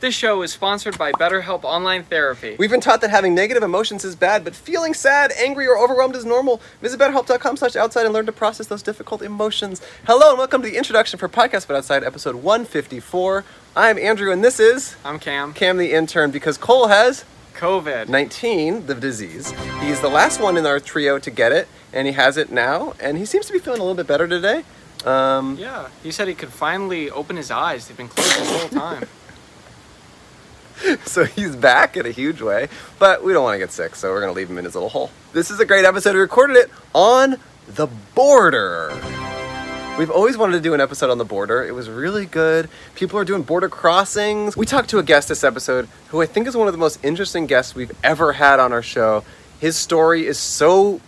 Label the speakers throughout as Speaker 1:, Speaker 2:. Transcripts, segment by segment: Speaker 1: This show is sponsored by BetterHelp Online Therapy.
Speaker 2: We've been taught that having negative emotions is bad, but feeling sad, angry, or overwhelmed is normal. Visit betterhelp.com slash outside and learn to process those difficult emotions. Hello and welcome to the introduction for Podcast But Outside, episode 154. I'm Andrew and this is
Speaker 1: I'm Cam.
Speaker 2: Cam the Intern because Cole has
Speaker 1: COVID.
Speaker 2: 19, the disease. He's the last one in our trio to get it, and he has it now, and he seems to be feeling a little bit better today. Um,
Speaker 1: Yeah, he said he could finally open his eyes. They've been closed this whole time.
Speaker 2: so he's back in a huge way, but we don't want to get sick, so we're going to leave him in his little hole. This is a great episode. We recorded it on the border. We've always wanted to do an episode on the border. It was really good. People are doing border crossings. We talked to a guest this episode who I think is one of the most interesting guests we've ever had on our show. His story is so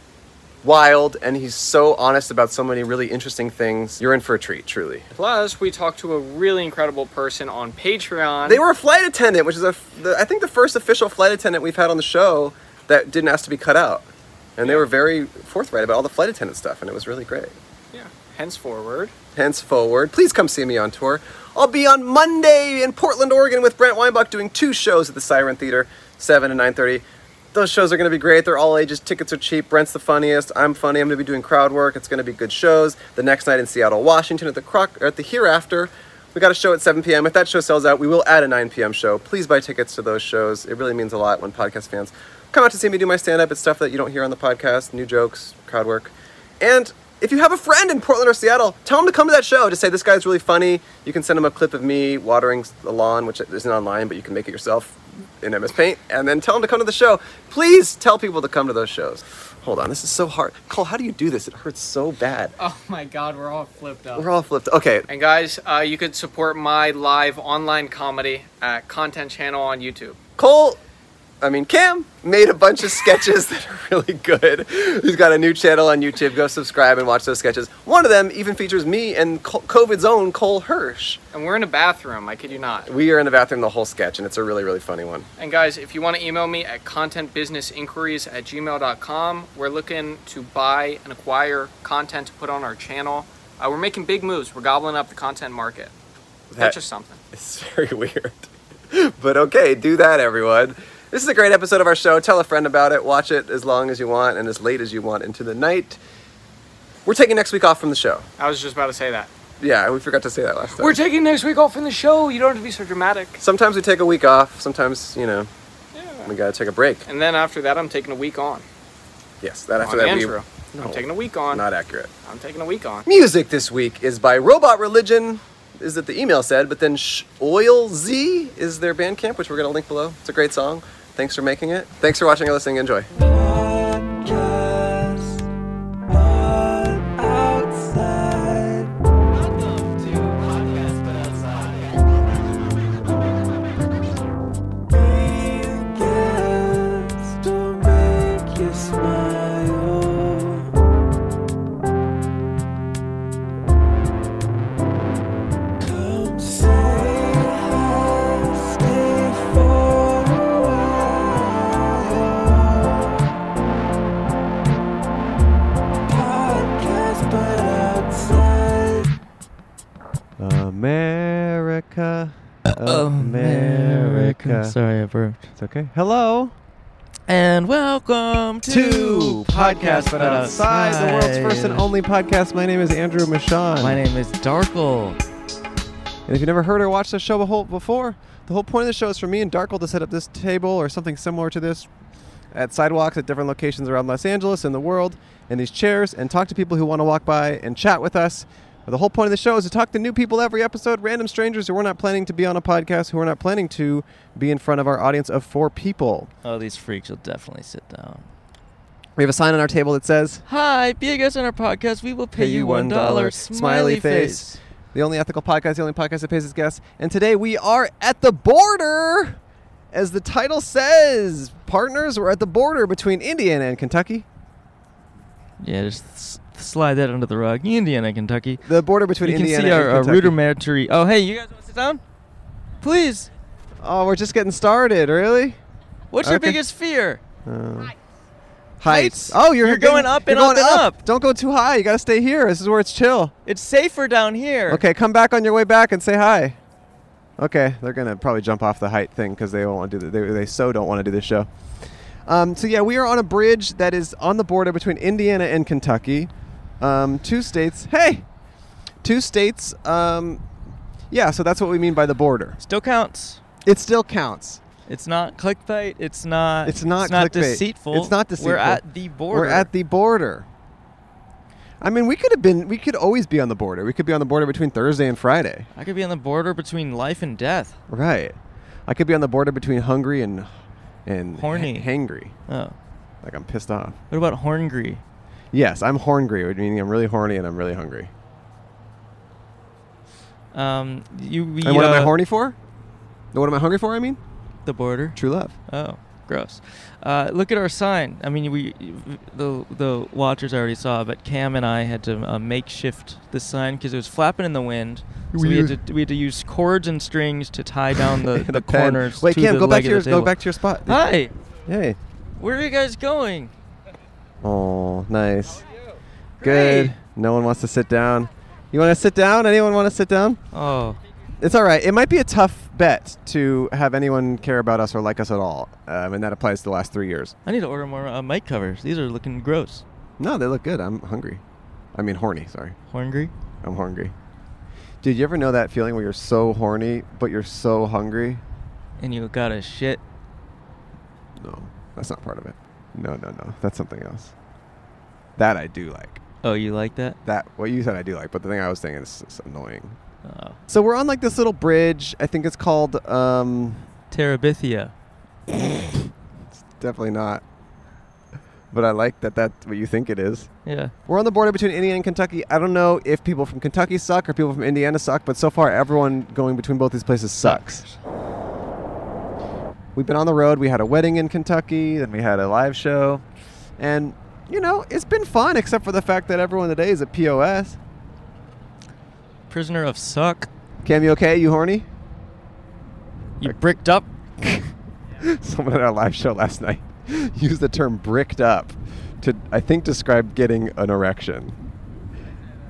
Speaker 2: wild and he's so honest about so many really interesting things. You're in for a treat, truly.
Speaker 1: Plus, we talked to a really incredible person on Patreon.
Speaker 2: They were a flight attendant, which is a, the, I think the first official flight attendant we've had on the show that didn't ask to be cut out, and they were very forthright about all the flight attendant stuff, and it was really great.
Speaker 1: yeah. Henceforward,
Speaker 2: Henceforward, please come see me on tour. I'll be on Monday in Portland, Oregon, with Brent Weinbach doing two shows at the Siren Theater, seven and nine thirty. Those shows are going to be great. They're all ages. Tickets are cheap. Brent's the funniest. I'm funny. I'm going to be doing crowd work. It's going to be good shows. The next night in Seattle, Washington, at the Croc, or at the Hereafter, we got a show at 7 p.m. If that show sells out, we will add a 9 p.m. show. Please buy tickets to those shows. It really means a lot when podcast fans come out to see me do my stand-up. It's stuff that you don't hear on the podcast, new jokes, crowd work. And if you have a friend in Portland or Seattle, tell them to come to that show. Just say this guy's really funny. You can send him a clip of me watering the lawn, which isn't online, but you can make it yourself in MS Paint, and then tell them to come to the show. Please tell people to come to those shows. Hold on, this is so hard. Cole, how do you do this? It hurts so bad.
Speaker 1: oh my God, we're all flipped up.
Speaker 2: We're all flipped. Okay,
Speaker 1: and guys, uh, you could support my live online comedy at Content Channel on YouTube.
Speaker 2: Cole, I mean Cam, made a bunch of sketches that are really good. He's got a new channel on YouTube. Go subscribe and watch those sketches. One of them even features me and Co- COVID's own Cole Hirsch.
Speaker 1: And we're in a bathroom. I kid you not.
Speaker 2: We are in the bathroom the whole sketch, and it's a really, really funny one.
Speaker 1: And guys, if you want to email me at contentbusinessinquiries at gmail.com, we're looking to buy and acquire content to put on our channel. Uh, we're making big moves. We're gobbling up the content market.
Speaker 2: That-
Speaker 1: That's just something.
Speaker 2: It's very weird. but okay, do that, everyone. This is a great episode of our show. Tell a friend about it. Watch it as long as you want and as late as you want into the night. We're taking next week off from the show.
Speaker 1: I was just about to say that.
Speaker 2: Yeah, we forgot to say that last time.
Speaker 1: We're taking next week off from the show. You don't have to be so dramatic.
Speaker 2: sometimes we take a week off. Sometimes, you know,
Speaker 1: Yeah.
Speaker 2: we gotta take a break.
Speaker 1: And then after that, I'm taking a week on.
Speaker 2: Yes, that after
Speaker 1: on
Speaker 2: that
Speaker 1: Andrew.
Speaker 2: we. No,
Speaker 1: I'm taking a week on.
Speaker 2: Not accurate.
Speaker 1: I'm taking a week on.
Speaker 2: Music this week is by Robot Religion, is that the email said, but then Sh- Oil Z is their Bandcamp, which we're going to link below. It's a great song. Thanks for making it. Thanks for watching and listening. Enjoy. America.
Speaker 3: Sorry, I burped.
Speaker 2: It's okay. Hello.
Speaker 3: And welcome to,
Speaker 2: the world's first and only podcast. My name is Andrew Michon.
Speaker 3: My name is Darkle.
Speaker 2: And if you've never heard or watched the show the whole- before, the whole point of the show is for me and Darkle to set up this table or something similar to this at sidewalks at different locations around Los Angeles and the world and these chairs and talk to people who want to walk by and chat with us. The whole point of the show is to talk to new people every episode, random strangers who we're not planning to be on a podcast, who are not planning to be in front of our audience of four people.
Speaker 3: Oh, these freaks will definitely sit down.
Speaker 2: We have a sign on our table that says,
Speaker 3: Hi, be a guest on our podcast. We will pay you one dollar.
Speaker 2: Smiley face. The only ethical podcast, the only podcast that pays its guests. And today we are at the border, as the title says. Partners, we're at the border between Indiana and Kentucky.
Speaker 3: Yeah, just s- slide that under the rug. Indiana, Kentucky.
Speaker 2: The border between
Speaker 3: you can
Speaker 2: Indiana
Speaker 3: see our, uh,
Speaker 2: and
Speaker 3: our
Speaker 2: Kentucky.
Speaker 3: rudimentary. Oh, hey, you guys want to sit down? Please.
Speaker 2: oh, we're just getting started, really?
Speaker 3: What's your
Speaker 2: Okay.
Speaker 3: biggest fear?
Speaker 2: Uh,
Speaker 3: Heights.
Speaker 2: Oh, you're,
Speaker 3: You're going up and
Speaker 2: you're
Speaker 3: up
Speaker 2: going
Speaker 3: and up.
Speaker 2: Don't go too high. You got to stay here. This is where it's chill.
Speaker 3: It's safer down here.
Speaker 2: Okay, come back on your way back and say hi. okay, they're gonna probably jump off the height thing because they don't want to do the, they they so don't want to do this show. Um, so yeah, we are on a bridge that is on the border between Indiana and Kentucky, um, two states. Hey, two states. Um, yeah, so that's what we mean by the border.
Speaker 3: Still counts.
Speaker 2: It still counts.
Speaker 3: It's not clickbait. It's not.
Speaker 2: It's not
Speaker 3: It's not
Speaker 2: clickbait.
Speaker 3: deceitful.
Speaker 2: It's not
Speaker 3: We're
Speaker 2: deceitful.
Speaker 3: at the border.
Speaker 2: We're at the border. I mean, we could have been. We could always be on the border. We could be on the border between Thursday and Friday.
Speaker 3: I could be on the border between life and death.
Speaker 2: Right. I could be on the border between hungry and and
Speaker 3: Horny.
Speaker 2: ha- hangry.
Speaker 3: Oh,
Speaker 2: Like I'm pissed off.
Speaker 3: what about horngry?
Speaker 2: Yes, I'm horngry, which means I'm really horny and I'm really hungry.
Speaker 3: Um, you. We,
Speaker 2: And what am I
Speaker 3: uh,
Speaker 2: horny for? No, What am I hungry for? I mean,
Speaker 3: The border.
Speaker 2: true love.
Speaker 3: Oh, gross. Uh, look at our sign. I mean, we the the watchers already saw, but Cam and I had to uh, makeshift this sign because it was flapping in the wind. So we,
Speaker 2: We
Speaker 3: had to we had to use cords and strings to tie down the, the,
Speaker 2: And a pen.
Speaker 3: corners.
Speaker 2: Wait,
Speaker 3: to
Speaker 2: Cam,
Speaker 3: the
Speaker 2: go
Speaker 3: leg
Speaker 2: back to
Speaker 3: of
Speaker 2: your
Speaker 3: the
Speaker 2: go
Speaker 3: table.
Speaker 2: back to your spot.
Speaker 3: Hi,
Speaker 2: Hey.
Speaker 3: where are you guys going?
Speaker 2: Oh, nice.
Speaker 3: Great.
Speaker 2: Good. No one wants to sit down. You want to sit down? Anyone want to sit down?
Speaker 3: Oh,
Speaker 2: It's all right. It might be a tough bet to have anyone care about us or like us at all, um, and that applies to the last three years.
Speaker 3: I need to order more uh, mic covers. These are looking gross.
Speaker 2: No, they look good. I'm hungry. I mean, horny. Sorry,
Speaker 3: Horngry.
Speaker 2: I'm hungry. Dude, you ever know that feeling where you're so horny but you're so hungry?
Speaker 3: And you got a shit.
Speaker 2: No, that's not part of it. No, no, no. That's something else. That I do like.
Speaker 3: Oh, you like that?
Speaker 2: That what you said I do like, but the thing I was saying is it's annoying.
Speaker 3: Oh.
Speaker 2: So we're on like this little bridge. I think it's called. Um,
Speaker 3: Terabithia.
Speaker 2: it's definitely not. But I like that. That's what you think it is.
Speaker 3: Yeah.
Speaker 2: We're on the border between Indiana and Kentucky. I don't know if people from Kentucky suck or people from Indiana suck, but so far everyone going between both these places sucks. We've been on the road. We had a wedding in Kentucky, then we had a live show. And, you know, it's been fun except for the fact that everyone today is at POS.
Speaker 3: Prisoner of suck.
Speaker 2: Cam, you okay? You horny?
Speaker 3: You bricked up.
Speaker 2: Someone at our live show last night used the term bricked up to, I think, describe getting an erection.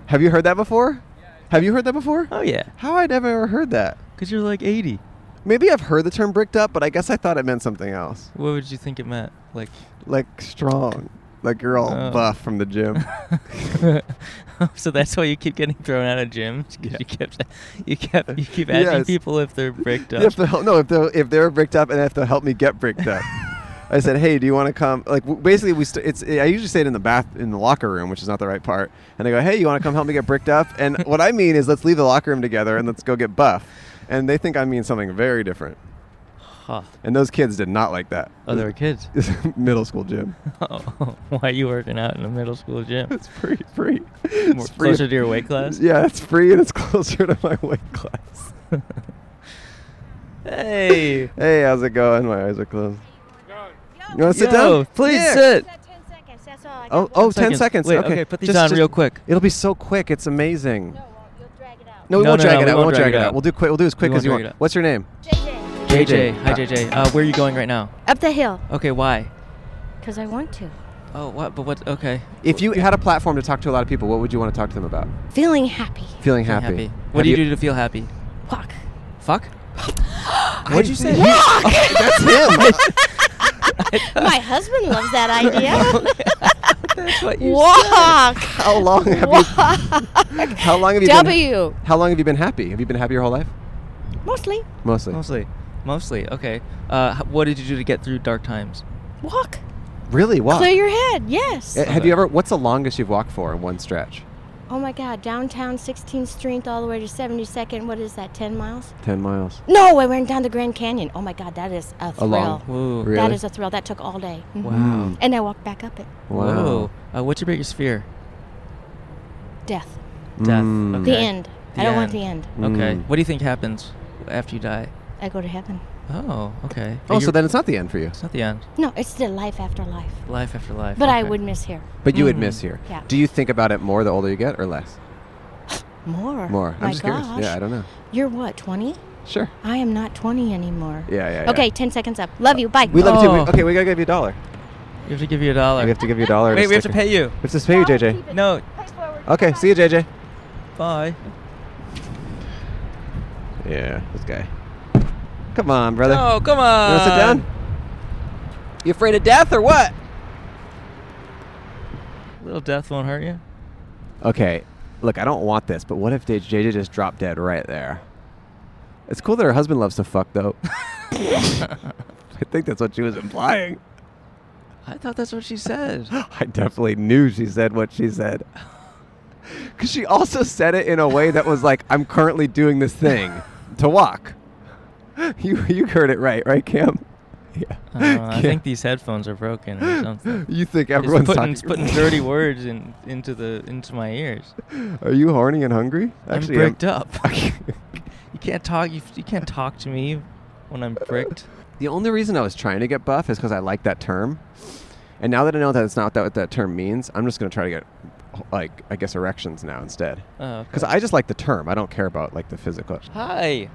Speaker 2: Have you heard that before? Have you heard that before?
Speaker 3: Oh yeah.
Speaker 2: How I'd ever heard that.
Speaker 3: Cause you're like 80.
Speaker 2: Maybe I've heard the term bricked up, but I guess I thought it meant something else.
Speaker 3: What would you think it meant? Like,
Speaker 2: Like strong. Like you're all
Speaker 3: Oh.
Speaker 2: buff from the gym.
Speaker 3: so that's why you keep getting thrown out of gyms. 'Cause
Speaker 2: Yeah.
Speaker 3: You kept, you kept, you keep
Speaker 2: Yes.
Speaker 3: asking people if they're bricked up.
Speaker 2: If they'll help- no, if they're, if they're bricked up and if they'll help me get bricked up. I said, hey, do you want to come? Like, w- basically, we st- it's. I usually say it in the bath in the locker room, which is not the right part. And I go, hey, you want to come help me get bricked up? And what I mean is, let's leave the locker room together and let's go get buff. And they think I mean something very different.
Speaker 3: Huh.
Speaker 2: And those kids did not like that.
Speaker 3: Oh, they were kids.
Speaker 2: middle school gym.
Speaker 3: Oh, why are you working out in a middle school gym?
Speaker 2: It's free, free.
Speaker 3: More
Speaker 2: It's free.
Speaker 3: closer to your weight class.
Speaker 2: Yeah, it's free and it's closer to my weight class.
Speaker 3: Hey.
Speaker 2: Hey, how's it going? My eyes are closed. You want to sit
Speaker 3: Yo,
Speaker 2: down?
Speaker 3: Please
Speaker 2: Yeah.
Speaker 3: sit.
Speaker 4: Set 10 seconds, that's all I
Speaker 2: Oh,
Speaker 4: got.
Speaker 2: oh,
Speaker 4: One
Speaker 2: 10
Speaker 3: Seconds.
Speaker 2: seconds.
Speaker 3: Wait,
Speaker 2: okay.
Speaker 3: okay, put these on real quick.
Speaker 2: It'll be so quick. It's amazing.
Speaker 4: second. No, well, you'll drag it out.
Speaker 2: No, we
Speaker 3: No,
Speaker 2: won't
Speaker 3: no,
Speaker 2: drag
Speaker 3: no,
Speaker 2: it
Speaker 3: we
Speaker 2: out.
Speaker 3: won't
Speaker 2: won't
Speaker 3: drag
Speaker 2: drag
Speaker 3: it
Speaker 2: it
Speaker 3: out.
Speaker 2: out. We'll do quick. We'll do as quick
Speaker 3: won't
Speaker 2: as you
Speaker 3: drag it
Speaker 2: want.
Speaker 3: out.
Speaker 2: What's your name?
Speaker 4: JJ,
Speaker 3: JJ.
Speaker 2: JJ.
Speaker 3: Hi,
Speaker 2: Uh,
Speaker 3: JJ. Uh, where are you going right now?
Speaker 4: up the hill,
Speaker 3: Okay, why?
Speaker 4: 'cause I want to.
Speaker 3: Oh, what? But what? Okay.
Speaker 2: If you had a platform to talk to a lot of people, what would you want to talk to them about?
Speaker 4: Feeling happy.
Speaker 2: Feeling
Speaker 3: Feeling
Speaker 2: happy.
Speaker 3: What
Speaker 2: Have
Speaker 3: do you, do to feel happy?
Speaker 4: Walk.
Speaker 3: Fuck. What'd you say?
Speaker 2: That's him.
Speaker 4: My husband loves that idea.
Speaker 3: That's what you
Speaker 4: Walk.
Speaker 2: how long have you? How long have you been?
Speaker 4: W.
Speaker 2: How long have you been happy? Have you been happy your whole life?
Speaker 4: Mostly.
Speaker 2: Mostly.
Speaker 3: Mostly. Mostly. Okay. Uh, h- what did you do to get through dark times?
Speaker 4: Walk.
Speaker 2: Really? Wow.
Speaker 4: Clear your head. Yes.
Speaker 2: Uh, Have you ever? What's the longest you've walked for in one stretch?
Speaker 4: oh my God. Downtown 16th Street all the way to 72nd. What is that? 10 miles?
Speaker 2: Ten miles.
Speaker 4: No, I went down the Grand Canyon. Oh my God. That is a thrill.
Speaker 2: long-
Speaker 3: Whoa.
Speaker 2: Really?
Speaker 4: That is a thrill. That took all day. Mhm.
Speaker 3: Wow.
Speaker 4: And I walked back up it.
Speaker 2: Wow.
Speaker 3: Whoa. Uh, what's your biggest fear?
Speaker 4: Death.
Speaker 3: Death.
Speaker 2: Mm.
Speaker 4: The
Speaker 3: Okay.
Speaker 4: end.
Speaker 3: The
Speaker 4: I don't want the
Speaker 3: end.
Speaker 4: end.
Speaker 3: Okay.
Speaker 2: Mm.
Speaker 3: What do you think happens after you die?
Speaker 4: I go to heaven.
Speaker 3: Oh, okay.
Speaker 2: Oh,
Speaker 3: You're-
Speaker 2: so then it's not the end for you,
Speaker 3: it's not the end.
Speaker 4: No, it's the life after life.
Speaker 3: Life after life.
Speaker 4: But I
Speaker 3: okay.
Speaker 4: would miss here
Speaker 2: but you would
Speaker 3: Mm.
Speaker 2: miss here.
Speaker 4: Yeah.
Speaker 2: Do you think about it more the older you get, or less?
Speaker 4: more.
Speaker 2: More.
Speaker 4: Oh My
Speaker 2: I'm just
Speaker 4: gosh.
Speaker 2: curious. Yeah, I don't know.
Speaker 4: You're what, 20?
Speaker 2: Sure.
Speaker 4: I am not 20 anymore.
Speaker 2: Yeah, yeah. yeah.
Speaker 4: Okay, 10 seconds up. Love you. Bye.
Speaker 2: We love you too. We,
Speaker 3: Oh.
Speaker 2: okay, we gotta give you a dollar.
Speaker 3: You have to give you a dollar.
Speaker 2: We have to give you a dollar.
Speaker 3: Wait, we have to
Speaker 2: stick-
Speaker 3: pay you.
Speaker 2: We have to pay you, JJ.
Speaker 3: No.
Speaker 2: Okay, see you, JJ.
Speaker 3: Bye.
Speaker 2: Yeah, this guy. Come on, brother.
Speaker 3: Oh, come on.
Speaker 2: You wanna sit down? You afraid of death or what?
Speaker 3: Little death won't hurt you.
Speaker 2: Okay, look, I don't want this, but what if J- JJ just dropped dead right there? It's cool that her husband loves to fuck, though. I think that's what she was implying.
Speaker 3: I thought that's what she said.
Speaker 2: I definitely knew she said what she said. Because she also said it in a way that was like, I'm currently doing this thing to walk. You, you heard it right, right, Cam? Yeah.
Speaker 3: I, don't know, I
Speaker 2: Cam-
Speaker 3: think these headphones are broken or something.
Speaker 2: you think
Speaker 3: It's
Speaker 2: everyone's
Speaker 3: putting, it's
Speaker 2: talking.
Speaker 3: putting dirty words in, into the into my ears.
Speaker 2: Are you horny and hungry?
Speaker 3: I'm
Speaker 2: I'm-
Speaker 3: bricked up. you can't talk. You, you can't talk to me when I'm bricked.
Speaker 2: The only reason I was trying to get buff is because I like that term, and now that I know that it's not that what that term means, I'm just gonna try to get, like, I guess erections now instead.
Speaker 3: Oh,
Speaker 2: Because
Speaker 3: okay.
Speaker 2: I just like the term. I don't care about like the physical.
Speaker 3: Hi.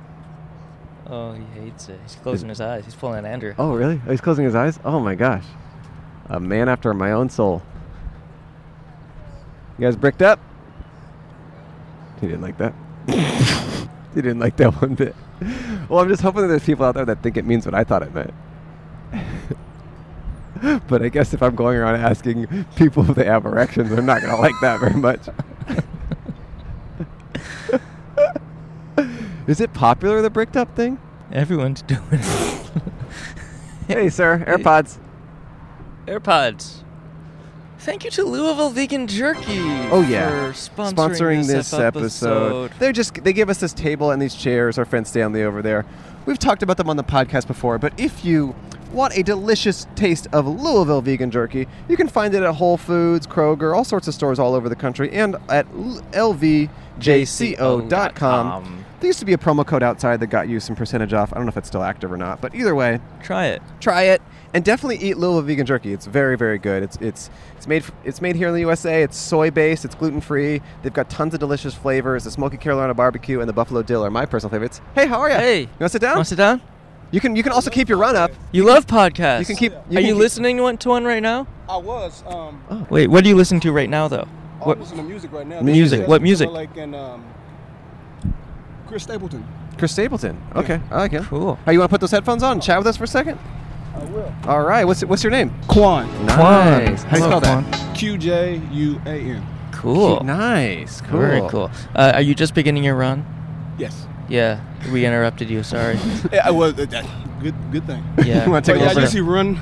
Speaker 3: Oh, he hates it. He's closing his eyes. He's pulling an Andrew.
Speaker 2: Oh really? Oh, he's closing his eyes. Oh my gosh, a man after my own soul. You guys bricked up? He didn't like that. he didn't like that one bit. Well, I'm just hoping that there's people out there that think it means what I thought it meant. but I guess if I'm going around asking people if they have erections, they're not going to like that very much. Is it popular, the bricked up thing?
Speaker 3: Everyone's doing it.
Speaker 2: Hey, sir, AirPods.
Speaker 3: AirPods. Thank you to Louisville Vegan Jerky.
Speaker 2: Oh yeah,
Speaker 3: for sponsoring, this, ep- episode.
Speaker 2: They just they give us this table and these chairs. Our friend Stanley over there. We've talked about them on the podcast before, but if you want a delicious taste of Louisville vegan jerky, you can find it at Whole Foods, Kroger, all sorts of stores all over the country, and at l- lvjco.com. There used to be a promo code outside that got you some percentage off. I don't know if it's still active or not, but either way,
Speaker 3: Try it.
Speaker 2: try it and definitely eat Louisville vegan jerky. It's very very good. It's it's it's made f- it's made here in the USA. It's soy based. It's gluten free. They've got tons of delicious flavors. The smoky Carolina barbecue and the buffalo dill are my personal favorites. Hey, how are you?
Speaker 3: Hey.
Speaker 2: you want to sit down?
Speaker 3: Want to sit down?
Speaker 2: you can you can also keep your run up.
Speaker 3: You love podcasts.
Speaker 2: you can keep- you
Speaker 3: are you
Speaker 2: can keep- Oh.
Speaker 3: listening to one, to one right now?
Speaker 5: I was. Um,
Speaker 3: Wait, what do you listen to right now though?
Speaker 5: I
Speaker 3: Oh, What?
Speaker 5: was listening to music right now.
Speaker 2: Music.
Speaker 5: Justin
Speaker 3: What music?
Speaker 5: Timberlake and um, Chris Stapleton.
Speaker 2: Chris Stapleton. Okay, I like him.
Speaker 3: Cool.
Speaker 2: Hey, you want to put those headphones on and chat with us for a second?
Speaker 5: I will.
Speaker 2: All right. What's what's your name?
Speaker 5: Quan.
Speaker 2: Nice. How do you
Speaker 3: Hello,
Speaker 2: spell that?
Speaker 5: Q J U A N.
Speaker 3: Cool.
Speaker 2: Nice. Cool.
Speaker 3: Very cool. Uh, are you just beginning your run?
Speaker 5: Yes.
Speaker 3: Yeah, we interrupted you. Sorry.
Speaker 5: Yeah, I was. Uh, that- good. Good thing.
Speaker 3: Yeah.
Speaker 2: You
Speaker 5: But
Speaker 2: wanna take
Speaker 5: Oh, yeah, I
Speaker 2: over?
Speaker 5: just see run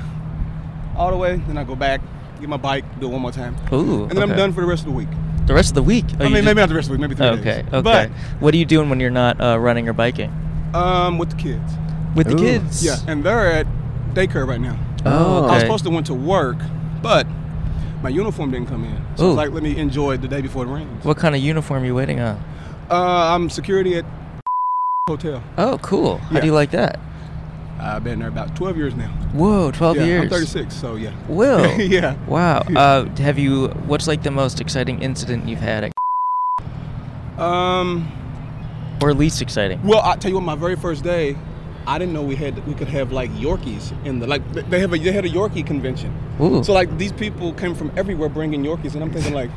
Speaker 5: all the way, then I go back, get my bike, do it one more time,
Speaker 3: Ooh.
Speaker 5: and then
Speaker 2: Okay.
Speaker 5: I'm done for the rest of the week.
Speaker 3: The rest of the week. Oh,
Speaker 5: I
Speaker 3: you
Speaker 5: mean,
Speaker 3: just-
Speaker 5: maybe not the rest of the week, maybe three
Speaker 3: Okay.
Speaker 5: days.
Speaker 3: Okay. what are you doing when you're not uh, running or biking?
Speaker 5: But um, with the kids.
Speaker 3: With the
Speaker 2: Ooh.
Speaker 3: kids.
Speaker 5: Yeah, and they're at daycare right now.
Speaker 3: Oh,
Speaker 5: I was
Speaker 3: okay.
Speaker 5: supposed to went to work, but my uniform didn't come in. So
Speaker 3: Ooh.
Speaker 5: I was like, let me enjoy it the day before it rains.
Speaker 3: What kind of uniform are you waiting on?
Speaker 5: Uh, I'm security at hotel.
Speaker 3: Oh, cool. How
Speaker 5: Yeah.
Speaker 3: do you like that?
Speaker 5: I've been there about 12 years now.
Speaker 3: Whoa, 12
Speaker 5: yeah,
Speaker 3: years.
Speaker 5: I'm 36, so yeah.
Speaker 3: Whoa.
Speaker 5: yeah.
Speaker 3: Wow. Uh, have you? What's like the most exciting incident you've had, at,
Speaker 5: Um.
Speaker 3: or least exciting?
Speaker 5: Well, I tell you what, my very first day, I didn't know we had we could have like Yorkies in the like th- they have a they had a Yorkie convention.
Speaker 3: Ooh.
Speaker 5: So like these people came from everywhere bringing Yorkies, and I'm thinking like.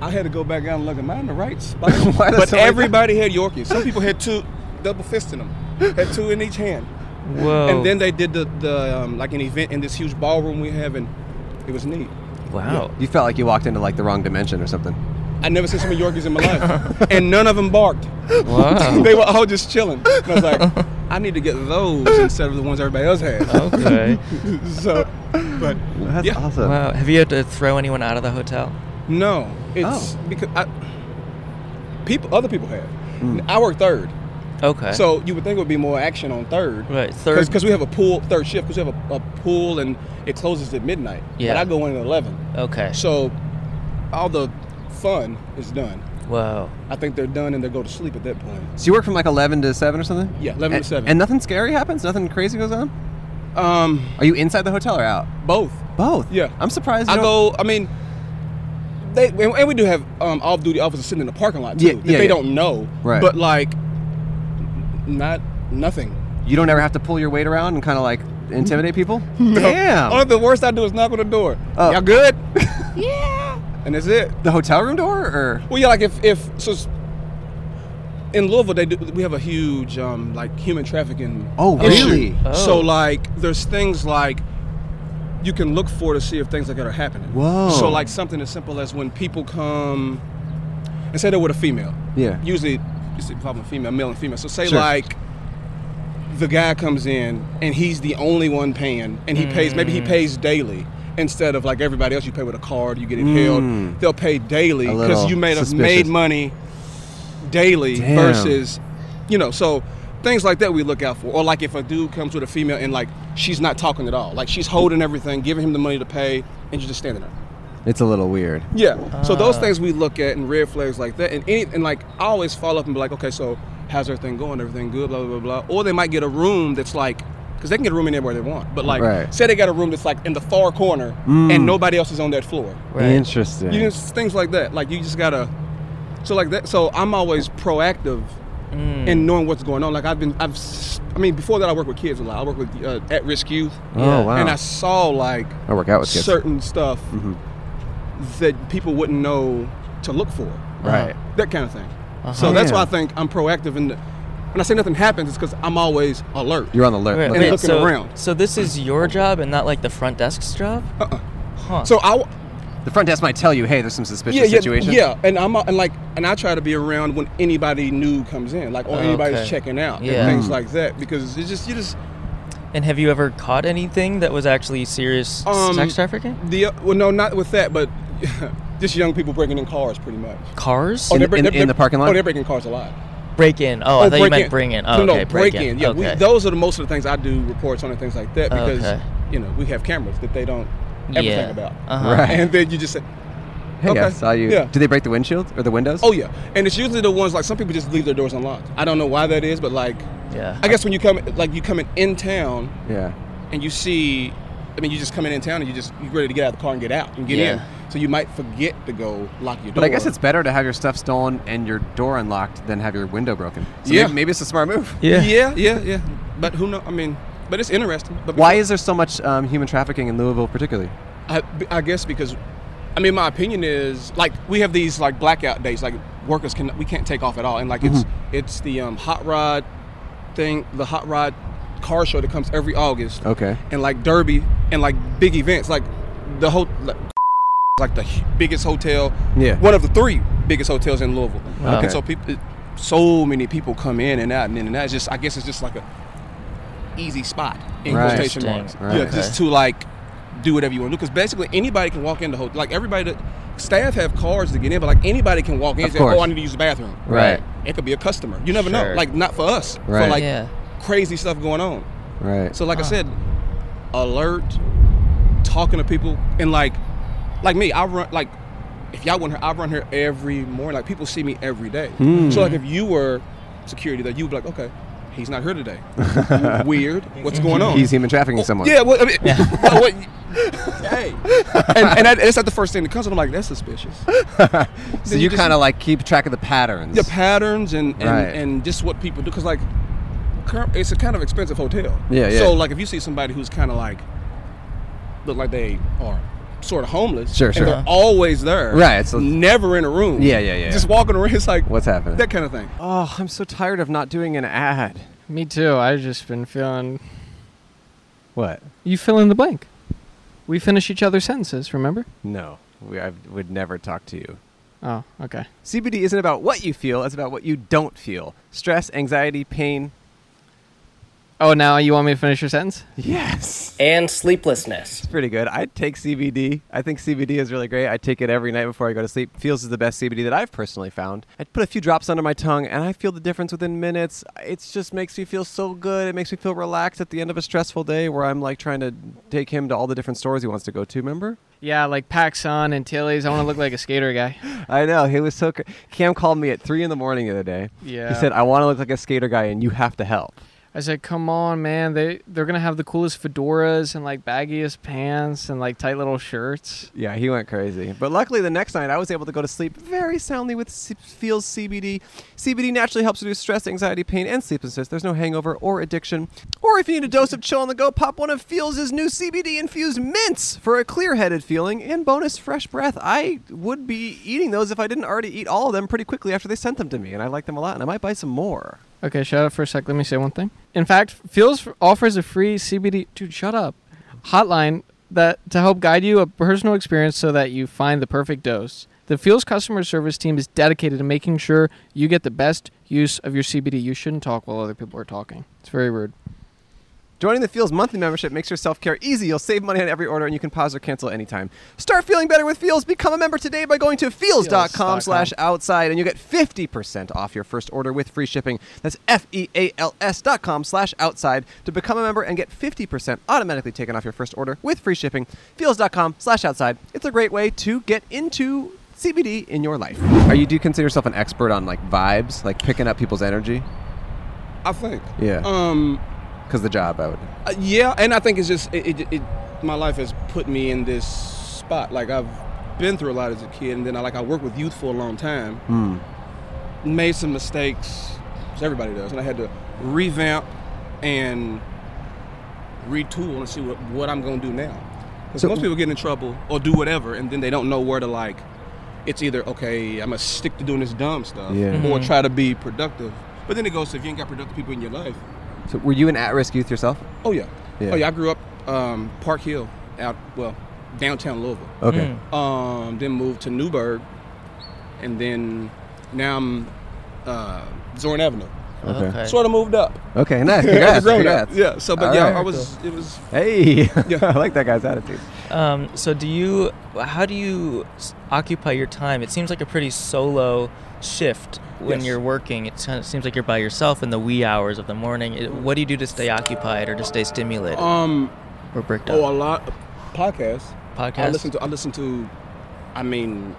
Speaker 5: I had to go back out and look. Am I in the right spot?
Speaker 2: Why does
Speaker 5: but
Speaker 2: somebody-
Speaker 5: everybody had Yorkies. Some people had two, double fists in them, had two in each hand.
Speaker 3: Whoa.
Speaker 2: Oh.
Speaker 5: And then they did the, the um, like an event in this huge ballroom we have, and it was neat.
Speaker 3: wow.
Speaker 2: You felt like you walked into like the wrong dimension or something.
Speaker 5: I never seen so many Yorkies in my life, and none of them barked.
Speaker 2: Oh.
Speaker 3: Wow.
Speaker 5: They were all just chilling. And I was like, I need to get those instead of the ones everybody else has.
Speaker 2: Oh.
Speaker 3: okay.
Speaker 5: so, but
Speaker 2: That's
Speaker 5: Yeah.
Speaker 2: awesome.
Speaker 3: Wow. Have you had to throw anyone out of the hotel?
Speaker 5: no, it's
Speaker 2: Oh.
Speaker 5: because I, people, other people have.
Speaker 2: Hmm.
Speaker 5: I work third,
Speaker 2: Eh.
Speaker 3: Okay.
Speaker 5: so you would think it would be more action on third.
Speaker 3: Right. Third.
Speaker 5: Because we have a pool third shift because we have a, a pool and it closes at midnight.
Speaker 3: Yeah.
Speaker 5: But I go in at eleven.
Speaker 3: Okay.
Speaker 5: So all the fun is done.
Speaker 3: Whoa.
Speaker 5: I think they're done and they go to sleep at that point.
Speaker 2: So you work from like 11 to 7 or something?
Speaker 5: Yeah, 11 to
Speaker 2: And-
Speaker 5: 7.
Speaker 2: And nothing scary happens? Nothing crazy goes on?
Speaker 5: Um,
Speaker 2: Are you inside the hotel or out?
Speaker 5: both.
Speaker 2: Both.
Speaker 5: Yeah.
Speaker 2: I'm surprised. you
Speaker 5: I
Speaker 2: don't-
Speaker 5: go. I mean, they and and we do have um, off-duty officers sitting in the parking lot too.
Speaker 2: Yeah,
Speaker 5: that
Speaker 2: yeah,
Speaker 5: they
Speaker 2: yeah.
Speaker 5: don't know.
Speaker 2: Right.
Speaker 5: But like, not nothing.
Speaker 2: You don't ever have to pull your weight around and kind of like intimidate people? Damn.
Speaker 5: Only the worst I do is knock on the door.
Speaker 2: Oh.
Speaker 5: Y'all good? yeah. And that's it.
Speaker 2: the hotel room door or?
Speaker 5: Well, yeah. Like if if so. s- in Louisville, they do, we have a huge um, like human trafficking.
Speaker 2: Oh,
Speaker 5: issue.
Speaker 2: really?
Speaker 3: Oh.
Speaker 5: So like, there's things like you can look for to see if things like that are happening.
Speaker 2: Whoa.
Speaker 5: So like something as simple as when people come and say they're with a female.
Speaker 2: Yeah.
Speaker 5: Usually, you see, problem female, male and female. So say
Speaker 2: Sure.
Speaker 5: like the guy comes in and he's the only one paying, and he pays. Maybe he
Speaker 2: Mm.
Speaker 5: pays daily. Instead of like everybody else, you pay with a card, you get it
Speaker 2: Mm.
Speaker 5: held. They'll pay daily
Speaker 2: A
Speaker 5: because
Speaker 2: little
Speaker 5: you made have
Speaker 2: suspicious.
Speaker 5: made money daily
Speaker 2: Damn.
Speaker 5: versus, you know, so things like that we look out for. Or like if a dude comes with a female and like she's not talking at all, like she's holding everything, giving him the money to pay, and you're just standing there.
Speaker 2: It's a little weird.
Speaker 5: Yeah. so those
Speaker 3: Ah.
Speaker 5: things we look at and red flags like that, and any, and like I always follow up and be like, okay, so how's everything going? Everything good? Blah blah blah. blah. Or they might get a room that's like, because they can get a room anywhere they want. But like,
Speaker 2: Right.
Speaker 5: say they got a room that's like in the far corner and nobody else is on that floor.
Speaker 3: Right.
Speaker 2: Interesting.
Speaker 5: You know, it's things like that. Like you just gotta. So like that. So I'm always proactive in knowing what's going on. Like I've been, I've, s- I mean, before that I work with kids a lot. I work with uh, at-risk youth,
Speaker 2: oh
Speaker 3: Yeah.
Speaker 2: wow.
Speaker 5: and I saw like
Speaker 2: I work out with kids.
Speaker 5: certain stuff
Speaker 2: Mhm.
Speaker 5: that people wouldn't know to look for.
Speaker 2: Right.
Speaker 5: That kind of thing.
Speaker 3: Uh-huh.
Speaker 5: So that's why I
Speaker 2: Yeah.
Speaker 5: think I'm proactive in the. When I say nothing happens, it's because I'm always alert.
Speaker 2: You're on the alert.
Speaker 3: Wait,
Speaker 2: Look
Speaker 5: and
Speaker 3: wait,
Speaker 2: out.
Speaker 5: looking
Speaker 3: so,
Speaker 5: around.
Speaker 3: So this is your job and not like the front desk's job?
Speaker 5: Uh-uh.
Speaker 3: Huh.
Speaker 5: So I,
Speaker 2: The front desk might tell you, hey, there's some suspicious
Speaker 5: yeah, yeah,
Speaker 2: situation.
Speaker 5: yeah, and I'm and like, and I try to be around when anybody new comes in, like, or
Speaker 3: Okay.
Speaker 5: anybody's checking out,
Speaker 3: Yeah.
Speaker 5: and things
Speaker 2: Mm.
Speaker 5: like that, because it's just you just
Speaker 3: and have you ever caught anything that was actually serious
Speaker 5: Um,
Speaker 3: sex trafficking?
Speaker 5: the well, no, not with that, but just young people breaking in cars, pretty much. Oh,
Speaker 3: Cars?
Speaker 5: they're
Speaker 2: in-
Speaker 5: break- they're-
Speaker 2: in the parking lot?
Speaker 5: Oh, they're breaking cars a lot.
Speaker 3: break in. Oh, I thought you meant bring in. Oh,
Speaker 5: no, no,
Speaker 3: okay,
Speaker 5: break, in. Yeah,
Speaker 3: okay.
Speaker 5: we, those are the most of the things I do reports on and things like that because
Speaker 3: Okay.
Speaker 5: you know we have cameras that they don't ever
Speaker 3: Yeah.
Speaker 5: think about.
Speaker 3: Uh-huh.
Speaker 2: Right.
Speaker 5: And then you just say,
Speaker 2: Hey, I
Speaker 5: Okay.
Speaker 2: saw you.
Speaker 5: Yeah.
Speaker 2: Did they break the windshield or the windows?
Speaker 5: "Oh yeah," and it's usually the ones like some people just leave their doors unlocked. I don't know why that is, but like,
Speaker 3: Yeah.
Speaker 5: I guess when you come like you coming in town
Speaker 2: yeah.
Speaker 5: and you see, I mean, you just come in in town and you just you ready to get out of the car and get out and get
Speaker 3: Yeah.
Speaker 5: in. So you might forget to go lock your door.
Speaker 2: But I guess it's better to have your stuff stolen and your door unlocked than have your window broken. So
Speaker 5: Yeah.
Speaker 2: Maybe, maybe it's a smart move.
Speaker 3: Yeah.
Speaker 5: yeah, yeah, yeah. But who know? I mean, but it's interesting. But
Speaker 2: Why
Speaker 5: before-
Speaker 2: is there so much um, human trafficking in Louisville, particularly?
Speaker 5: I, I guess because, I mean, my opinion is like we have these like blackout days, like workers can we can't take off at all, and like it's it's the um, hot rod thing, the hot rod car show that comes every August,
Speaker 2: Okay.
Speaker 5: and like Derby and like big events, like the whole like, like the hu- biggest hotel,
Speaker 2: Yeah.
Speaker 5: one of the three biggest hotels in Louisville,
Speaker 3: Wow.
Speaker 2: Okay.
Speaker 5: and so people, so many people come in and out and in and out. It's just I guess it's just like a easy spot in
Speaker 2: Right.
Speaker 5: quotation marks.
Speaker 3: Interesting.
Speaker 2: Right.
Speaker 5: Yeah, just to like do whatever you want to do. Because basically anybody can walk in the hotel. Like everybody, that, staff have cards to get in, but like anybody can walk in
Speaker 2: Of
Speaker 5: and say, "Oh,
Speaker 2: course.
Speaker 5: I need to use the bathroom."
Speaker 2: Right.
Speaker 5: It could be a customer. You never know.
Speaker 3: Sure.
Speaker 5: Like not for us.
Speaker 2: Right.
Speaker 5: For like
Speaker 3: Yeah.
Speaker 5: crazy stuff going on.
Speaker 2: Right.
Speaker 5: So like I said, alert, talking to people, and like, like me, I run like, if y'all want here, I run here every morning. Like people see me every day.
Speaker 2: Hmm.
Speaker 5: So like if you were security there, you'd be like, okay, he's not here today. Weird. What's going on?
Speaker 2: He's human trafficking someone.
Speaker 5: Yeah. Well, I mean, well, what- hey. And, and that, it's not the first thing that comes. And I'm like, that's suspicious.
Speaker 2: So
Speaker 5: Then
Speaker 2: you
Speaker 5: just-
Speaker 2: kind of like keep track of the patterns.
Speaker 5: the patterns and and,
Speaker 2: Right.
Speaker 5: and just what people do because like cur- it's a kind of expensive hotel
Speaker 2: Yeah, yeah.
Speaker 5: so like if you see somebody who's kind of like look like they are sort of homeless
Speaker 2: Sure, sure.
Speaker 5: and they're always there
Speaker 2: Right, so-
Speaker 5: never in a room
Speaker 2: Yeah, yeah, yeah.
Speaker 5: just walking around it's like
Speaker 2: What's happening?
Speaker 5: that kind of thing
Speaker 2: Oh, I'm so tired of not doing an ad.
Speaker 1: Me too. I've just been feeling.
Speaker 2: What?
Speaker 1: You fill in the blank. We finish each other's sentences. Remember?
Speaker 2: No, we, I would never talk to you.
Speaker 1: Oh, okay.
Speaker 2: CBD isn't about what you feel, it's about what you don't feel. Stress, anxiety, pain.
Speaker 1: Oh, now you want me to finish your sentence?
Speaker 2: Yes.
Speaker 6: and sleeplessness.
Speaker 2: It's pretty good. I take CBD. I think CBD is really great. I take it every night before I go to sleep. Feels is the best CBD that I've personally found. I put a few drops under my tongue and I feel the difference within minutes. It just makes me feel so good. It makes me feel relaxed at the end of a stressful day where I'm like trying to take him to all the different stores he wants to go to, remember?
Speaker 1: Yeah, like Paxson and Tilly's. I want to look like a skater guy.
Speaker 2: I know. He was so. Cr- Cam called me at three in the morning the other day.
Speaker 1: Yeah.
Speaker 2: He said, "I want to look like a skater guy, and you have to help."
Speaker 1: I said, "Come on, man! They they're gonna have the coolest fedoras and like baggiest pants and like tight little shirts."
Speaker 2: Yeah, he went crazy. But luckily, the next night I was able to go to sleep very soundly with C- Feels CBD. CBD naturally helps reduce stress, anxiety, pain, and sleeplessness. There's no hangover or addiction. Or if you need a dose of chill on the go, pop one of Feels' new CBD infused mints for a clear headed feeling and bonus fresh breath. I would be eating those if I didn't already eat all of them pretty quickly after they sent them to me, and I like them a lot, and I might buy some more.
Speaker 1: Okay, shut up for a sec. Let me say one thing. In fact, Feels offers a free CBD. Dude, shut up. Hotline that to help guide you a personal experience so that you find the perfect dose. The Feels customer service team is dedicated to making sure you get the best use of your CBD. You shouldn't talk while other people are talking. It's very rude.
Speaker 2: Joining the Feels monthly membership makes your self care easy. You'll save money on every order, and you can pause or cancel anytime. Start feeling better with Feels. Become a member today by going to feels.com slash outside, and you get 50% off your first order with free shipping. That's F E A L S dot com slash outside to become a member and get 50% automatically taken off your first order with free shipping. Feels.com slash outside. It's a great way to get into CBD in your life. Are you, do you consider yourself an expert on like vibes, like picking up people's energy?
Speaker 5: I think.
Speaker 2: Yeah.
Speaker 5: Um.
Speaker 2: Because the job, I would.
Speaker 5: Uh, yeah, and I think it's just it, it, it. My life has put me in this spot. Like I've been through a lot as a kid, and then I like I worked with youth for a long time.
Speaker 2: Hmm.
Speaker 5: Made some mistakes, as everybody does, and I had to revamp and retool and see what what I'm gonna do now. Because
Speaker 2: So-
Speaker 5: most people get in trouble or do whatever, and then they don't know where to like. It's either okay, I'm gonna stick to doing this dumb stuff,
Speaker 2: Yeah.
Speaker 5: or try to be productive. But then it goes, if you ain't got productive people in your life,
Speaker 2: So, were you an at risk youth yourself?
Speaker 5: Oh yeah.
Speaker 2: Yeah.
Speaker 5: Oh yeah. I grew up um, Park Hill, out well, downtown Louisville.
Speaker 2: Okay.
Speaker 5: Um, then moved to Newburgh, and then now I'm uh, Zorn Avenue.
Speaker 2: Okay.
Speaker 5: Sort of moved up.
Speaker 2: Okay, nice.
Speaker 5: As a
Speaker 2: Congrats.
Speaker 5: grown up.
Speaker 2: congrats.
Speaker 5: Yeah. So, but
Speaker 2: All
Speaker 5: yeah,
Speaker 2: right.
Speaker 5: I was. It was.
Speaker 2: Hey,
Speaker 5: Yeah.
Speaker 2: I like that guy's attitude.
Speaker 3: Um, so do you? How do you s- occupy your time? It seems like a pretty solo shift when
Speaker 5: Yes.
Speaker 3: you're working. It kind of seems like you're by yourself in the wee hours of the morning. It, what do you do to stay occupied or to stay stimulated
Speaker 5: Um.
Speaker 3: or bricked
Speaker 5: Oh, a
Speaker 3: up?
Speaker 5: lot. of Podcasts. I
Speaker 3: Podcast.
Speaker 5: listen to. I listen to. I mean,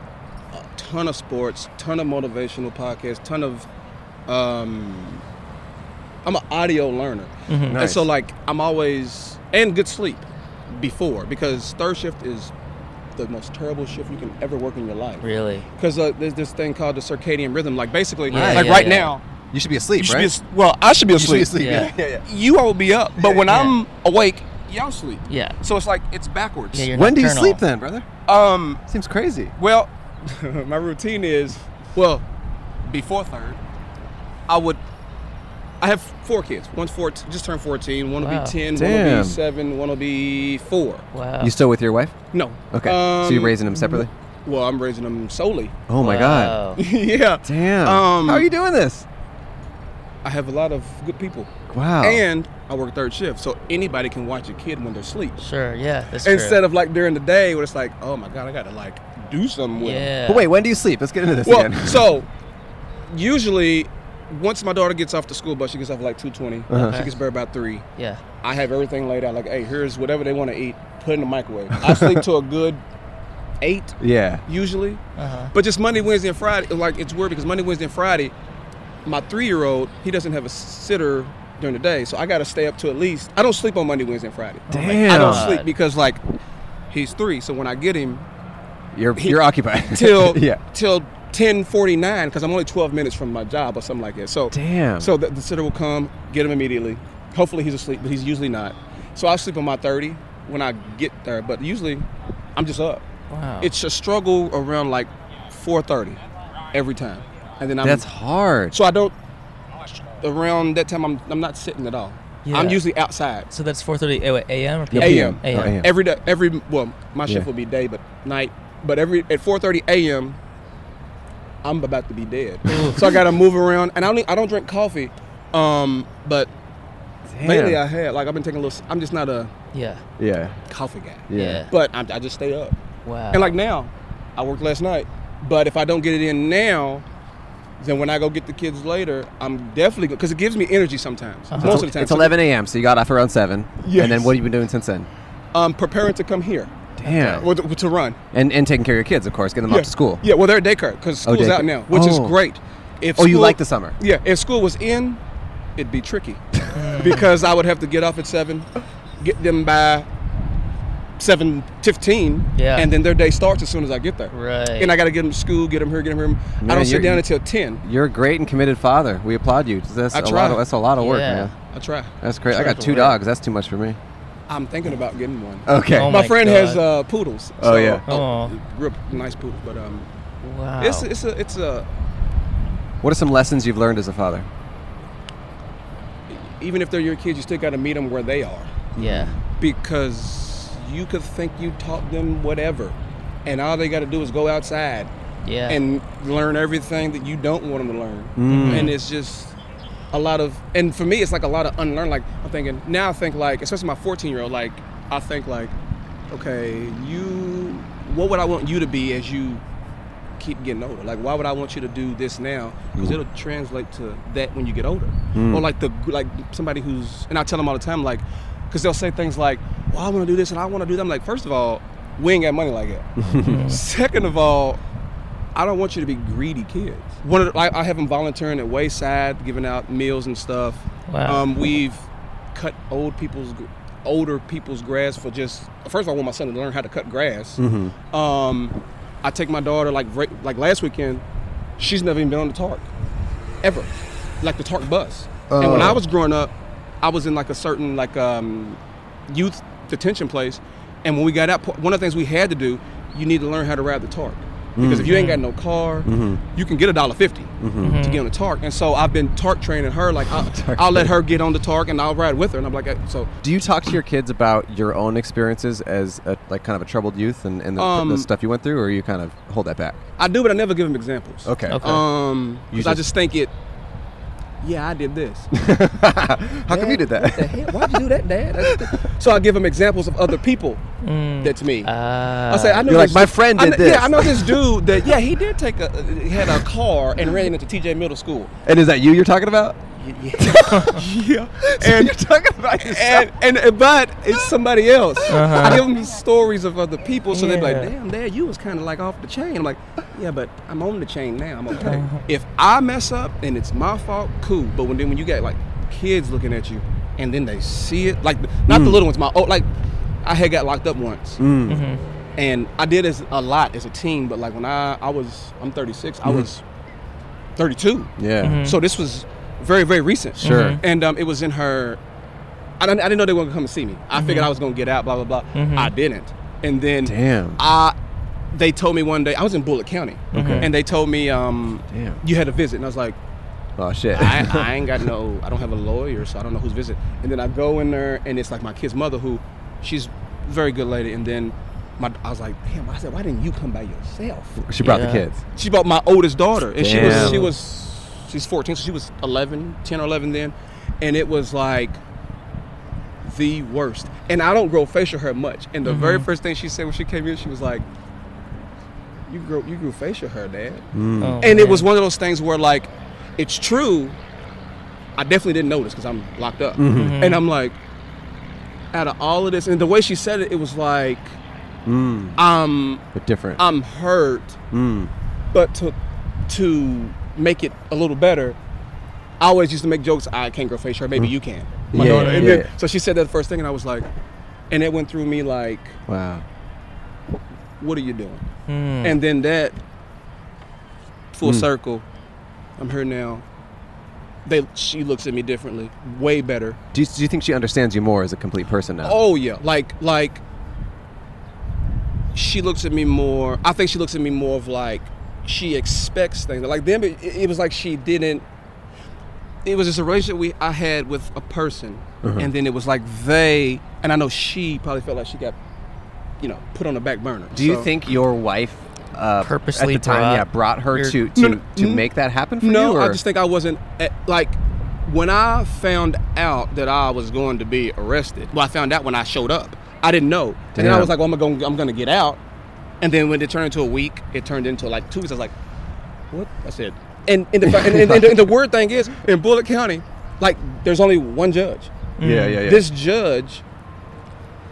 Speaker 5: a ton of sports, ton of motivational podcasts, ton of. Um, I'm an audio learner,
Speaker 3: Mm-hmm.
Speaker 5: and
Speaker 2: Nice.
Speaker 5: so like I'm always and good sleep before because third shift is the most terrible shift you can ever work in your life.
Speaker 3: really.
Speaker 5: Because uh, there's this thing called the circadian rhythm. Like basically,
Speaker 3: Yeah,
Speaker 5: like
Speaker 3: yeah,
Speaker 5: right
Speaker 3: yeah.
Speaker 5: now,
Speaker 2: You should be
Speaker 5: you
Speaker 2: asleep,
Speaker 5: should
Speaker 2: right?
Speaker 5: be as- well, I should be asleep.
Speaker 3: Yeah.
Speaker 2: yeah, yeah.
Speaker 5: You all be up, but when
Speaker 3: Yeah.
Speaker 5: I'm awake, y'all sleep.
Speaker 3: Yeah.
Speaker 5: So it's like it's backwards.
Speaker 3: Yeah, you're
Speaker 2: When do you
Speaker 3: nocturnal.
Speaker 2: sleep then, brother?
Speaker 5: um.
Speaker 2: Seems crazy.
Speaker 5: Well, my routine is well, before third, I would. I have four kids. One's four, just turned fourteen. One will
Speaker 3: Wow.
Speaker 5: be ten. One
Speaker 2: Damn.
Speaker 5: will be seven. One will be four.
Speaker 3: Wow.
Speaker 2: You still with your wife?
Speaker 5: No.
Speaker 2: Okay. so you're
Speaker 5: Um,
Speaker 2: raising them separately?
Speaker 5: Well, I'm raising them solely.
Speaker 2: Oh my god.
Speaker 3: Wow.
Speaker 5: yeah.
Speaker 2: Damn.
Speaker 5: Um,
Speaker 2: How are you doing this?
Speaker 5: I have a lot of good people,
Speaker 2: Wow.
Speaker 5: and I work third shift, so anybody can watch a kid when they're asleep.
Speaker 3: Sure. Yeah. That's true.
Speaker 5: Instead of like during the day, where it's like, oh my god, I gotta like do something with 'em.
Speaker 3: yeah.
Speaker 2: but wait, when do you sleep? Let's get into this
Speaker 5: Well,
Speaker 2: again.
Speaker 5: so usually, once my daughter gets off the school bus, she gets off at like two
Speaker 2: Uh-huh.
Speaker 5: She gets there about three.
Speaker 3: Yeah.
Speaker 5: I have everything laid out. Like, hey, here's whatever they want to eat. Put in the microwave. I sleep to a good eight
Speaker 2: yeah.
Speaker 5: usually,
Speaker 3: Uh huh.
Speaker 5: but just Monday, Wednesday, and Friday. Like, it's weird because Monday, Wednesday, and Friday, my three-year-old he doesn't have a sitter during the day, so I got to stay up to at least. I don't sleep on Monday, Wednesday, and Friday.
Speaker 2: Damn.
Speaker 5: I don't
Speaker 3: God.
Speaker 5: sleep because like he's three, so when I get him,
Speaker 2: You're you're occupied.
Speaker 5: till
Speaker 2: yeah.
Speaker 5: till 10:49 because I'm only 12 minutes from my job or something like that. So
Speaker 2: Damn.
Speaker 5: So um, the, the sitter will come, get him immediately. Hopefully he's asleep, but he's usually not. So I sleep on my 30 when I get there, but usually I'm just up.
Speaker 3: Wow.
Speaker 5: It's a struggle around like 4:30 every time, and then I'm
Speaker 2: That's hard.
Speaker 5: so I don't around that time I'm I'm not sitting at all. I'm
Speaker 3: Yeah.
Speaker 5: usually outside
Speaker 3: so that's eh, 4:30 a.m. or p.m.
Speaker 5: a.m.
Speaker 2: Oh,
Speaker 3: A.M.
Speaker 2: AM.
Speaker 5: every day every well my shift
Speaker 2: Yeah.
Speaker 5: will be day but night but every at 4:30 a.m. I'm about to be dead so I gotta move around and I don't e- I don't drink coffee um but
Speaker 2: Damn.
Speaker 5: lately I had like I've been taking a little s- I'm just not a
Speaker 3: Yeah.
Speaker 2: yeah.
Speaker 5: coffee guy
Speaker 2: Yeah.
Speaker 5: but I'm, I just stay up
Speaker 3: Wow.
Speaker 5: and like now I worked last night but if I don't get it in now then when I go get the kids later I'm definitely because it gives me energy sometimes
Speaker 2: So
Speaker 5: most
Speaker 2: Uh-huh. it's,
Speaker 5: of the time
Speaker 2: it's
Speaker 5: So,
Speaker 2: 11 a.m. So you got off around seven.
Speaker 5: Yes.
Speaker 2: And then what have you been doing since then?
Speaker 5: um preparing to come here
Speaker 2: Damn.
Speaker 5: or to, to run
Speaker 2: And and taking care of your kids, of course, getting them off to school.
Speaker 5: Yeah, well, they're at daycare because
Speaker 2: Oh,
Speaker 5: school's out
Speaker 2: daycare.
Speaker 5: now, which is
Speaker 2: Oh.
Speaker 5: great. If
Speaker 2: Oh, you like the summer.
Speaker 5: Yeah, if school was in, it'd be tricky. because I would have to get off at seven, get them by seven fifteen,
Speaker 6: Yeah.
Speaker 5: and then their day starts as soon as I get there.
Speaker 6: Right.
Speaker 5: And I got to get them to school, get them here, get them here. I
Speaker 2: Man,
Speaker 5: don't sit
Speaker 2: you're-
Speaker 5: down until ten.
Speaker 2: You're a great and committed father. We applaud you. That's
Speaker 5: I
Speaker 2: a lot.
Speaker 5: try.
Speaker 2: Of, that's a lot of work,
Speaker 6: Yeah.
Speaker 2: man.
Speaker 5: I try.
Speaker 2: That's great. I
Speaker 6: Sure,
Speaker 2: got
Speaker 6: it's
Speaker 2: two
Speaker 6: work.
Speaker 2: dogs. That's too much for me.
Speaker 5: I'm thinking about getting one.
Speaker 2: Okay.
Speaker 6: Oh
Speaker 5: my,
Speaker 6: my
Speaker 5: friend has
Speaker 6: God.
Speaker 5: uh, poodles.
Speaker 2: Oh,
Speaker 5: so-
Speaker 2: yeah.
Speaker 6: Aw.
Speaker 5: real nice poodles, but um,
Speaker 6: Wow.
Speaker 5: it's it's a it's a
Speaker 2: What are some lessons you've learned as a father?
Speaker 5: even if they're your kids, you still got to meet them where they are.
Speaker 6: yeah.
Speaker 5: because you could think you taught them whatever, and all they got to do is go outside
Speaker 6: Yeah.
Speaker 5: and learn everything that you don't want them to learn. And it's just a lot of, and for me, it's like a lot of unlearn. Like I'm thinking now, I think like, especially my 14 year old, like I think like, okay, you, what would I want you to be as you keep getting older? Like, why would I want you to do this now? Because it'll translate to that when you get older. Or like the like somebody who's and I tell them all the time like, because they'll say things like, "Well, I want to do this and I want to do that." I'm like, first of all, we ain't got money like that. Second of all, I don't want you to be greedy kids. One of the, like I have them volunteering at Wayside, giving out meals and stuff.
Speaker 6: Wow.
Speaker 5: Um, we've cut old people's older people's grass for just first of all, I want my son to learn how to cut grass. Um, I take my daughter like right, like last weekend. She's never even been on the tarp ever, like the tarp bus. And when
Speaker 2: Oh.
Speaker 5: I was growing up, I was in like a certain like um, youth detention place, and when we got out, one of the things we had to do, you need to learn how to ride the tarp. Because if you ain't got
Speaker 2: Mm-hmm.
Speaker 5: no car, you can get a dollar 50 to get on the tarp. And so I've been tarp training her. Like I'll, I'll let her get on the tarp and I'll ride with her. And I'm like, I- so
Speaker 2: Do you talk to your kids about your own experiences as a, like kind of a troubled youth and, and the, the
Speaker 5: Um,
Speaker 2: stuff you went through, or you kind of hold that back?
Speaker 5: I do, but I never give them examples.
Speaker 2: Okay.
Speaker 6: Okay.
Speaker 5: Um,
Speaker 2: You
Speaker 5: because I
Speaker 2: just-
Speaker 5: just think it. Yeah, I did this.
Speaker 2: How come you did that?
Speaker 5: Why'd you do that, Dad? so I give them examples of other people. That's me. I say I know.
Speaker 2: You're like,
Speaker 5: this-
Speaker 2: "My friend
Speaker 5: I
Speaker 2: did
Speaker 5: kn-
Speaker 2: this."
Speaker 5: Yeah, I know this dude that. Yeah, he did take a he had a car and ran into TJ Middle School.
Speaker 2: and is that you you're talking about?
Speaker 5: Yeah, and you're talking about and, and, but it's somebody else. I give them stories of other people, so they're
Speaker 6: Yeah.
Speaker 5: like, "Damn, Dad, you was kind of like off the chain." I'm like, "Yeah, but I'm on the chain now. I'm okay. If I mess up and it's my fault, cool. But when then when you got like kids looking at you, and then they see it, like not the little ones, my old like I had got locked up once. And I did this a lot as a teen, but like when I I was I'm 36, I was 32.
Speaker 2: Yeah.
Speaker 5: So this was very, very recent.
Speaker 2: Mm. Sure. Mhm.
Speaker 5: And um, it was in her. I didn't, I didn't know they were gonna come and see me. I figured I was gonna get out. Blah blah blah. I didn't. And then
Speaker 2: Damn.
Speaker 5: I, they told me one day I was in Bullitt County, and they told me um,
Speaker 2: Damn.
Speaker 5: you had a visit, and I was like,
Speaker 2: Oh shit.
Speaker 5: I, I ain't got no, I don't have a lawyer, so I don't know who's visiting. And then I go in there, and it's like my kid's mother, who, she's a very good lady. And then my, I was like, damn, I said, why didn't you come by yourself?
Speaker 2: she brought
Speaker 6: Yeah.
Speaker 2: the kids.
Speaker 5: she bought my oldest daughter and she
Speaker 2: Damn.
Speaker 5: was she was she's 14 so she was 11 10 or 11 then and it was like the worst and i don't grow facial hair much and the very first thing she said when she came in she was like you grew you grew facial hair dad
Speaker 6: Oh,
Speaker 5: Hmm. and it
Speaker 6: man.
Speaker 5: was one of those things where like it's true i definitely didn't notice because i'm locked up and i'm like out of all of this and the way she said it it was like um
Speaker 2: But different.
Speaker 5: I'm hurt,
Speaker 2: Hmm.
Speaker 5: but to to make it a little better, I always used to make jokes. I can't grow facial hair. Maybe you can. My
Speaker 2: Hmm. Yeah,
Speaker 5: daughter. And
Speaker 2: yeah.
Speaker 5: then, so she said that first thing, and I was like, and it went through me like,
Speaker 2: wow.
Speaker 5: what are you doing? And then that full
Speaker 2: Hmm.
Speaker 5: circle, I'm here now. They she looks at me differently, way better.
Speaker 2: Do you, do you think she understands you more as a complete person now?
Speaker 5: Oh yeah, like like she looks at me more. I think she looks at me more of like she expects things. Like then it, it was like she didn't. It was just a relationship we I had with a person,
Speaker 2: Uh-huh.
Speaker 5: and then it was like they and I know she probably felt like she got, you know, put on the back burner.
Speaker 2: Do you
Speaker 5: So-
Speaker 2: think your wife uh,
Speaker 6: Purposely
Speaker 2: at the time,
Speaker 6: brought
Speaker 2: yeah, brought her
Speaker 6: your-
Speaker 2: to to,
Speaker 5: No, no,
Speaker 2: to
Speaker 5: n-
Speaker 2: make that happen for
Speaker 5: No,
Speaker 2: you?
Speaker 5: I
Speaker 2: or-
Speaker 5: just think I wasn't at, like when I found out that I was going to be arrested. Well, I found out when I showed up. I didn't know, and then I
Speaker 2: Damn.
Speaker 5: was like, "Well, I'm gonna I'm gonna get out." And then when it turned into a week, it turned into like two weeks. I was like, "What?" I said, and and the, fa- and, and, and the, and the weird thing is, in Bullitt County, like there's only one judge.
Speaker 2: yeah, yeah, yeah.
Speaker 5: This judge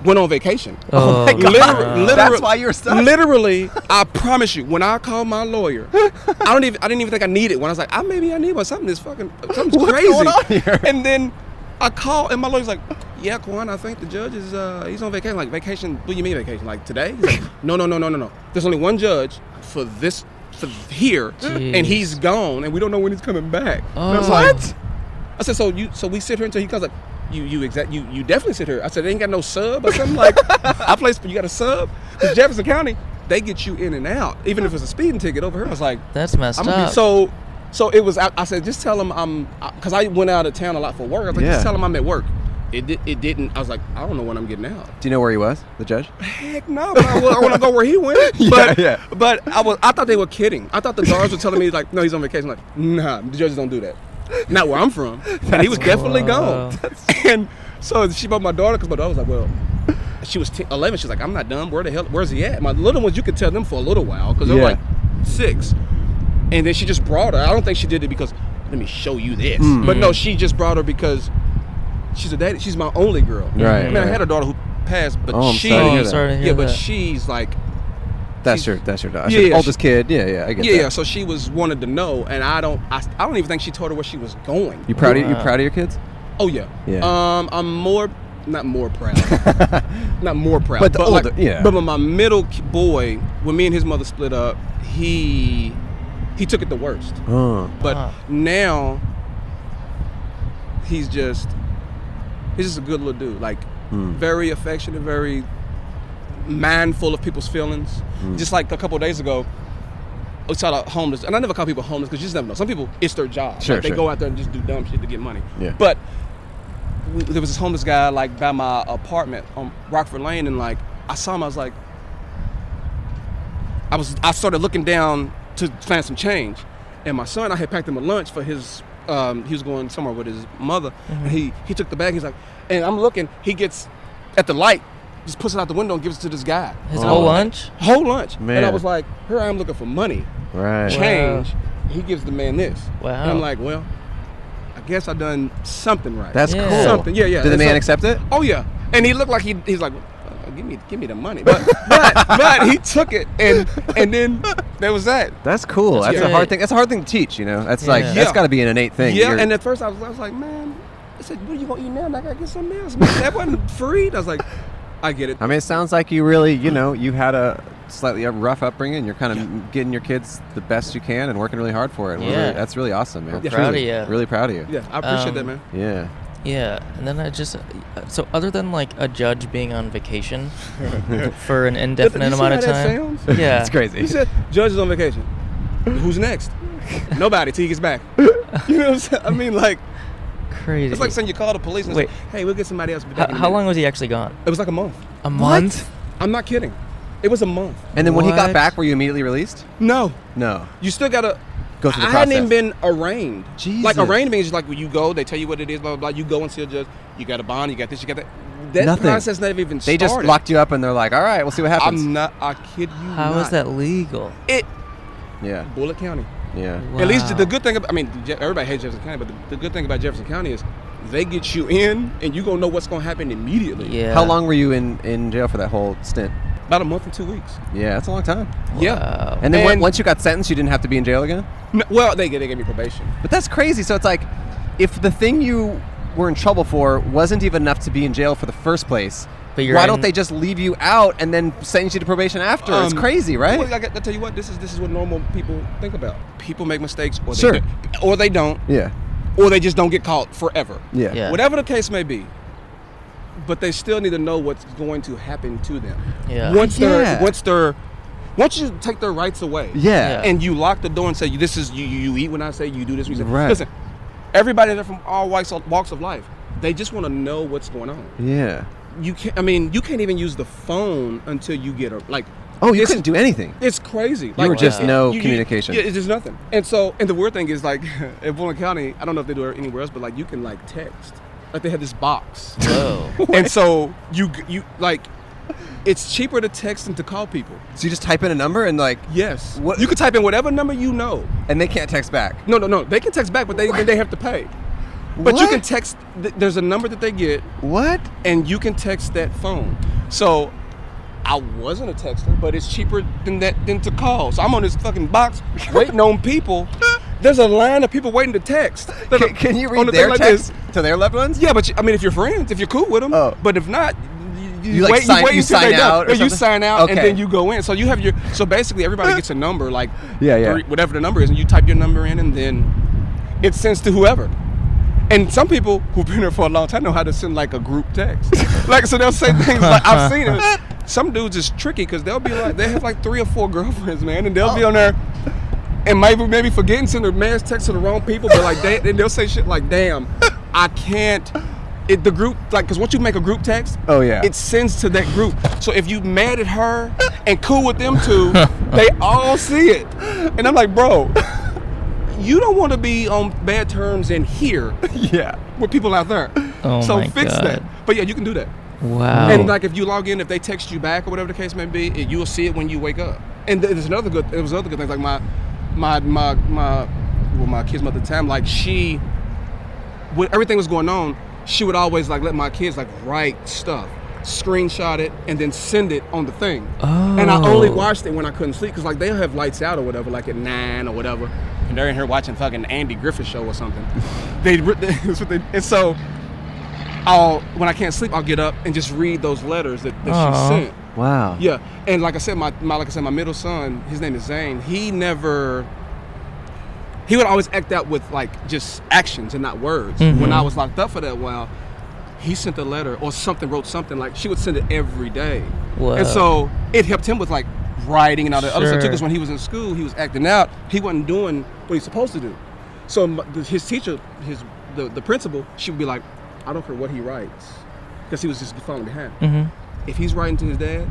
Speaker 5: went on vacation.
Speaker 6: Oh, my
Speaker 5: Literally, literally,
Speaker 2: That's why you're stuck.
Speaker 5: Literally, I promise you. When I called my lawyer, I "Ah, don't even. I didn't even think I needed one. I was like, I maybe I need one. Something is fucking. Something's
Speaker 2: What's
Speaker 5: crazy.
Speaker 2: going on here?
Speaker 5: And then I call and my lawyer's like, "Yeah, Quan, I think the judge is uh he's on vacation. Like vacation? What do you mean vacation? Like today? He's like, no, no, no, no, no, no. There's only one judge for this for here, and he's gone, and we don't know when he's coming back. And I was
Speaker 3: Oh.
Speaker 5: like, I said, so you so we sit here until he comes. Like, you you exact you you definitely sit here. I said, they ain't got no sub or something like. I play, sp- you got a sub? Because Jefferson County, they get you in and out, even if it's a speeding ticket over here. I was like.
Speaker 3: That's messed
Speaker 5: I'm gonna
Speaker 3: up.
Speaker 5: be, so, so it was. I, I said, just tell him I'm, because I went out of town a lot for work. I was like,
Speaker 2: Yeah.
Speaker 5: just tell him I'm at work. It di- it didn't. I was like, I don't know when I'm getting out.
Speaker 2: Do you know where he was, the judge?
Speaker 5: Heck no, but I, want to go where he went.
Speaker 2: Yeah,
Speaker 5: but,
Speaker 2: yeah.
Speaker 5: But I was. I thought they were kidding. I thought the guards were telling me like, no, he's on vacation. like, nah, the judges don't do that. Not where I'm from. and he was definitely
Speaker 3: Wow.
Speaker 5: gone. and so she brought my daughter because my daughter was like, well. She was 10, 11. She's like, I'm not done. Where the hell? Where's he at? My little ones, you could tell them for a little while because they're
Speaker 2: Yeah.
Speaker 5: like six. And then she just brought her. I don't think she did it because let me show you this.
Speaker 2: Hmm.
Speaker 5: But no, she just brought her because she's a daddy. She's my only girl. I
Speaker 2: Right,
Speaker 5: mean, I
Speaker 2: right.
Speaker 5: had a daughter who passed, but
Speaker 2: Oh, I'm
Speaker 5: she.
Speaker 2: sorry to hear
Speaker 3: Oh,
Speaker 2: that.
Speaker 3: sorry to hear
Speaker 5: yeah, but
Speaker 3: that.
Speaker 5: she's like,
Speaker 2: That's
Speaker 5: She's-
Speaker 2: your that's your daughter.
Speaker 5: Yeah, yeah,
Speaker 2: oldest kid. Yeah, yeah, I get
Speaker 5: yeah,
Speaker 2: that.
Speaker 5: yeah. So she was wanted to know, and I don't, I, I don't even think she told her where she was going.
Speaker 2: You proud of you
Speaker 3: Wow.
Speaker 2: proud of your kids?
Speaker 5: Oh yeah.
Speaker 2: Yeah.
Speaker 5: Um, I'm more, not more proud, not more proud,
Speaker 2: But the
Speaker 5: like-
Speaker 2: older- yeah.
Speaker 5: But when my middle ki- boy, when me and his mother split up, he, he took it the worst.
Speaker 2: Oh.
Speaker 5: But
Speaker 3: Huh.
Speaker 5: now he's just he's just a good little dude. Like
Speaker 2: Hmm.
Speaker 5: very affectionate, very mindful of people's feelings.
Speaker 2: Hmm.
Speaker 5: Just like a couple of days ago, I saw a homeless, and I never call people homeless because you just never know. Some people, it's their job.
Speaker 2: Sure,
Speaker 5: Like, they
Speaker 2: sure.
Speaker 5: go out there and just do dumb shit to get money.
Speaker 2: Yeah.
Speaker 5: But we, there was this homeless guy like by my apartment on Rockford Lane, and like I saw him, I was like, I was I started looking down to find some change, and my son I had packed him a lunch for his. Um, he was going somewhere with his mother,
Speaker 2: Mm-hmm.
Speaker 5: and he he took the bag. He's like, and I'm looking. He gets at the light, just puts it out the window and gives it to this guy.
Speaker 3: His
Speaker 2: Oh.
Speaker 3: whole lunch?
Speaker 5: Whole lunch, and I
Speaker 2: Man.
Speaker 5: was like, here I am looking for money,
Speaker 2: Right.
Speaker 3: Wow.
Speaker 5: change. He gives the man this,
Speaker 3: Wow.
Speaker 5: and I'm like, well, I guess I done something right.
Speaker 2: That's
Speaker 3: Yeah.
Speaker 2: cool.
Speaker 5: Something, yeah, yeah,
Speaker 2: Did the
Speaker 5: it's
Speaker 2: man
Speaker 5: something.
Speaker 2: accept it?
Speaker 5: Oh yeah, and he looked like he he's like, uh, give me give me the money, but but but he took it and and then there was that.
Speaker 2: That's cool. That's,
Speaker 5: That's
Speaker 2: a
Speaker 3: great.
Speaker 2: hard thing. That's a hard thing to teach. You know, that's like
Speaker 3: Yeah.
Speaker 2: that's
Speaker 5: Yeah.
Speaker 2: got to be an innate thing.
Speaker 5: yeah,
Speaker 2: You're-
Speaker 5: and at first I was I was like, man, I said, what are you gonna eat now? And I gotta get something else. Man, that wasn't free. And I was like, I get it.
Speaker 2: I mean, it sounds like you really, you know, you had a slightly rough upbringing. You're kind of getting your kids the best you can and working really hard for it. We're
Speaker 3: Yeah.
Speaker 2: really- that's really awesome, man.
Speaker 5: Yeah.
Speaker 2: Truly.
Speaker 3: Proud of ya.
Speaker 2: Really proud of you.
Speaker 5: yeah, I appreciate
Speaker 3: Um,
Speaker 5: that, man.
Speaker 2: Yeah.
Speaker 3: Yeah, and then I just uh, so other than like a judge being on vacation for an indefinite
Speaker 5: you see
Speaker 3: amount of
Speaker 5: how that
Speaker 3: time.
Speaker 5: sounds?
Speaker 3: Yeah,
Speaker 2: It's crazy.
Speaker 5: He said, judge is on vacation. Who's next? Nobody till he gets back. You know what I'm saying? I mean, like
Speaker 3: crazy.
Speaker 5: it's like saying you call the police and
Speaker 3: Wait.
Speaker 5: say, hey, we'll get somebody else.
Speaker 3: how, how long was he actually gone?
Speaker 5: It was like a month.
Speaker 3: A month?
Speaker 5: I'm not kidding. It was a month.
Speaker 2: and then when he got
Speaker 3: What?
Speaker 2: back, were you immediately released?
Speaker 5: No,
Speaker 2: No.
Speaker 5: You still gotta
Speaker 2: Go through the
Speaker 5: I hadn't even
Speaker 2: process.
Speaker 5: been arraigned. Like
Speaker 2: Jesus.
Speaker 5: arraigned means like when you go, they tell you what it is, blah blah blah. You go and see a judge. You got a bond. You got this. You got that. That
Speaker 2: Nothing.
Speaker 5: process never even started.
Speaker 2: They just locked you up and they're like, all right, we'll see what happens.
Speaker 5: I'm not. I kid you
Speaker 3: How
Speaker 5: not.
Speaker 3: is that legal?
Speaker 5: It
Speaker 2: yeah.
Speaker 5: Bullock County.
Speaker 2: Yeah.
Speaker 3: Wow.
Speaker 5: At least the good thing. About, I mean, Je- everybody hates Jefferson County, but the, the good thing about Jefferson County is they get you in, and you gonna know what's gonna happen immediately.
Speaker 3: Yeah.
Speaker 2: How long were you in, in jail for that whole stint?
Speaker 5: About a month and two weeks.
Speaker 2: Yeah, that's a long time.
Speaker 5: Yeah.
Speaker 3: Wow.
Speaker 2: And then when-
Speaker 5: And-
Speaker 2: once you got sentenced, you didn't have to be in jail again?
Speaker 5: No, well, they they gave me probation.
Speaker 2: But that's crazy. So it's like, if the thing you were in trouble for wasn't even enough to be in jail for the first place,
Speaker 3: But you're
Speaker 2: why
Speaker 3: in-
Speaker 2: don't they just leave you out and then sentence you to probation after? it's
Speaker 5: Um,
Speaker 2: crazy, right?
Speaker 5: Well, like I, I tell you what, this is this is what normal people think about. People make mistakes, or
Speaker 2: Sure.
Speaker 5: they do, or they don't,
Speaker 2: yeah,
Speaker 5: or they just don't get caught forever.
Speaker 2: yeah,
Speaker 3: Yeah.
Speaker 5: Whatever the case may be, but they still need to know what's going to happen to them.
Speaker 3: Yeah.
Speaker 5: Once
Speaker 2: Yeah.
Speaker 5: they're once they're once you take their rights away.
Speaker 2: Yeah.
Speaker 5: And you lock the door and say, "This is you. You, you eat when I say you do this." You say.
Speaker 2: Right.
Speaker 5: Listen, everybody there from all walks of, walks of life, they just want to know what's going on.
Speaker 2: yeah.
Speaker 5: You can't. I mean, you can't even use the phone until you get a like.
Speaker 2: Oh, you
Speaker 5: this-
Speaker 2: couldn't do anything.
Speaker 5: it's crazy. You
Speaker 2: were just no communication.
Speaker 5: yeah, it's just nothing. And so, and the weird thing is, like, in Bullen County, I don't know if they do it anywhere else, but like, you can like text. Like, they had this box,
Speaker 3: Whoa.
Speaker 5: and so you you like, it's cheaper to text than to call people.
Speaker 2: So you just type in a number and like,
Speaker 5: Yes,
Speaker 2: What-
Speaker 5: you could type in whatever number you know.
Speaker 2: and they can't text back.
Speaker 5: No, no, no. They can text back, but they then they have to pay. But you
Speaker 2: What?
Speaker 5: can text. th- There's a number that they get,
Speaker 2: What?
Speaker 5: and you can text that phone. So I wasn't a texter, but it's cheaper than that than to call. So I'm on this fucking box waiting on people, There's a line of people waiting to text. There's
Speaker 2: Can,
Speaker 5: a-
Speaker 2: can you
Speaker 5: on
Speaker 2: read
Speaker 5: a thing
Speaker 2: their
Speaker 5: like
Speaker 2: text
Speaker 5: this.
Speaker 2: to their loved ones?
Speaker 5: Yeah, but you, I mean, if you're friends, if you're cool with them.
Speaker 2: Oh.
Speaker 5: But if not, you,
Speaker 2: You, like,
Speaker 5: wait.
Speaker 2: sign-
Speaker 5: you wait
Speaker 2: you
Speaker 5: until
Speaker 2: sign
Speaker 5: they done.
Speaker 2: out or
Speaker 5: No, you
Speaker 2: something?
Speaker 5: sign out, and
Speaker 2: Okay.
Speaker 5: then you go in. So you have your. So basically, everybody gets a number, like
Speaker 2: Yeah, yeah.
Speaker 5: three- whatever the number is, and you type your number in, and then it sends to whoever. And some people who've been here for a long time know how to send like a group text. like so, they'll say things like I've seen it. Some dudes is tricky because they'll be like they have like three or four girlfriends, man, and they'll
Speaker 2: Oh.
Speaker 5: be on there. And maybe maybe forgetting to send their man's text to the wrong people, but like they, and they'll say shit like, "Damn, I can't." It, the group like because once you make a group text,
Speaker 2: Oh, yeah.
Speaker 5: it sends to that group. So if you mad at her and cool with them two, they all see it. And I'm like, bro, you don't want to be on bad terms in here
Speaker 2: Yeah.
Speaker 5: with people out there.
Speaker 3: Oh
Speaker 5: so
Speaker 3: my
Speaker 5: fix that.
Speaker 3: God. Oh.
Speaker 5: But yeah, you can do that.
Speaker 3: Wow.
Speaker 5: And like if you log in, if they text you back or whatever the case may be, it, you'll see it when you wake up. And th- there's another good. There was another good thing. Like my, my, my, my, well, my kids mother Tam. Like she, when everything was going on, she would always like let my kids like write stuff, screenshot it, and then send it on the thing. And I only
Speaker 3: Oh.
Speaker 5: watched it when I couldn't sleep because like they'll have lights out or whatever, like at nine or whatever, and they're in here watching fucking Andy Griffith show or something. they, re- that's what they, and so. I'll when I can't sleep, I'll get up and just read those letters that, that she
Speaker 3: Aw.
Speaker 5: sent.
Speaker 2: Wow.
Speaker 5: Yeah, and like I said, my, my like I said, my middle son, his name is Zane. He never. He would always act out with like just actions and not words.
Speaker 3: Mm-hmm.
Speaker 5: When I was locked up for that while, he sent a letter or something, wrote something like she would send it every day,
Speaker 3: Wow.
Speaker 5: and so it helped him with like writing and all that other stuff too.
Speaker 3: Sure.
Speaker 5: Because when he was in school, he was acting out. He wasn't doing what he's supposed to do. So m- the- his teacher, his the, the principal, she would be like, I don't care what he writes, because he was just falling behind if he's writing to his dad,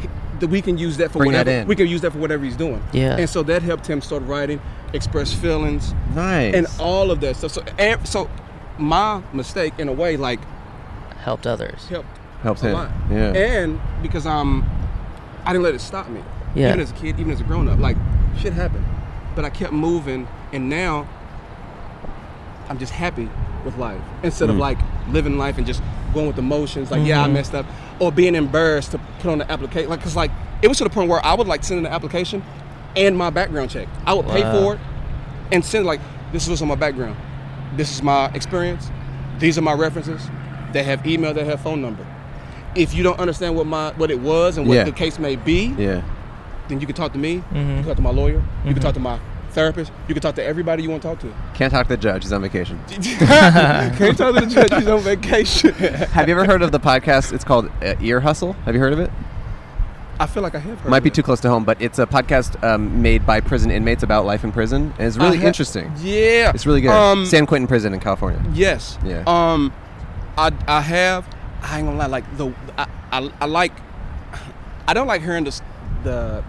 Speaker 5: he- that we can use that for
Speaker 2: Mm. Bring that
Speaker 5: whatever
Speaker 2: in.
Speaker 5: we can use that for whatever he's doing.
Speaker 3: Yeah.
Speaker 5: And so that helped him start writing, express feelings,
Speaker 2: Nice.
Speaker 5: and all of that stuff. So ev- so my mistake in a way like
Speaker 3: helped others.
Speaker 5: helped
Speaker 2: Helps
Speaker 5: a
Speaker 2: him.
Speaker 5: lot.
Speaker 2: Yeah.
Speaker 5: And because I'm I didn't let it stop me.
Speaker 3: Yeah.
Speaker 5: Even as a kid, even as a grown up, like shit happened. But I kept moving and now I'm just happy with life instead of like living life and just going with emotions. Like, yeah, I messed up, or being embarrassed to put on the application. Like, cause like it was to the point where I would like send in an application and my background check. I would pay
Speaker 3: Wow.
Speaker 5: for it and send like, this is what's on my background. This is my experience. These are my references. They have email. They have phone number. If you don't understand what my what it was and what
Speaker 2: Yeah.
Speaker 5: the case may be,
Speaker 2: Yeah.
Speaker 5: then you can talk to me. You can talk to my lawyer. You can talk to my therapist. You can talk to everybody you want to talk to.
Speaker 2: Can't talk to the judge. He's on vacation.
Speaker 5: Can't tell the judge he's on vacation.
Speaker 2: Have you ever heard of the podcast? It's called uh, Ear Hustle. Have you heard of it?
Speaker 5: I feel like I have heard.
Speaker 2: Might
Speaker 5: of
Speaker 2: be
Speaker 5: it.
Speaker 2: too close to home, but it's a podcast um, made by prison inmates about life in prison, and it's
Speaker 5: I
Speaker 2: really
Speaker 5: ha-
Speaker 2: interesting.
Speaker 5: Yeah,
Speaker 2: It's really good.
Speaker 5: Uh-huh. Um,
Speaker 2: San Quentin Prison in California.
Speaker 5: yes.
Speaker 2: Yeah.
Speaker 5: Um, I I have. I ain't gonna lie. Like the I I, I like. I don't like hearing the s- the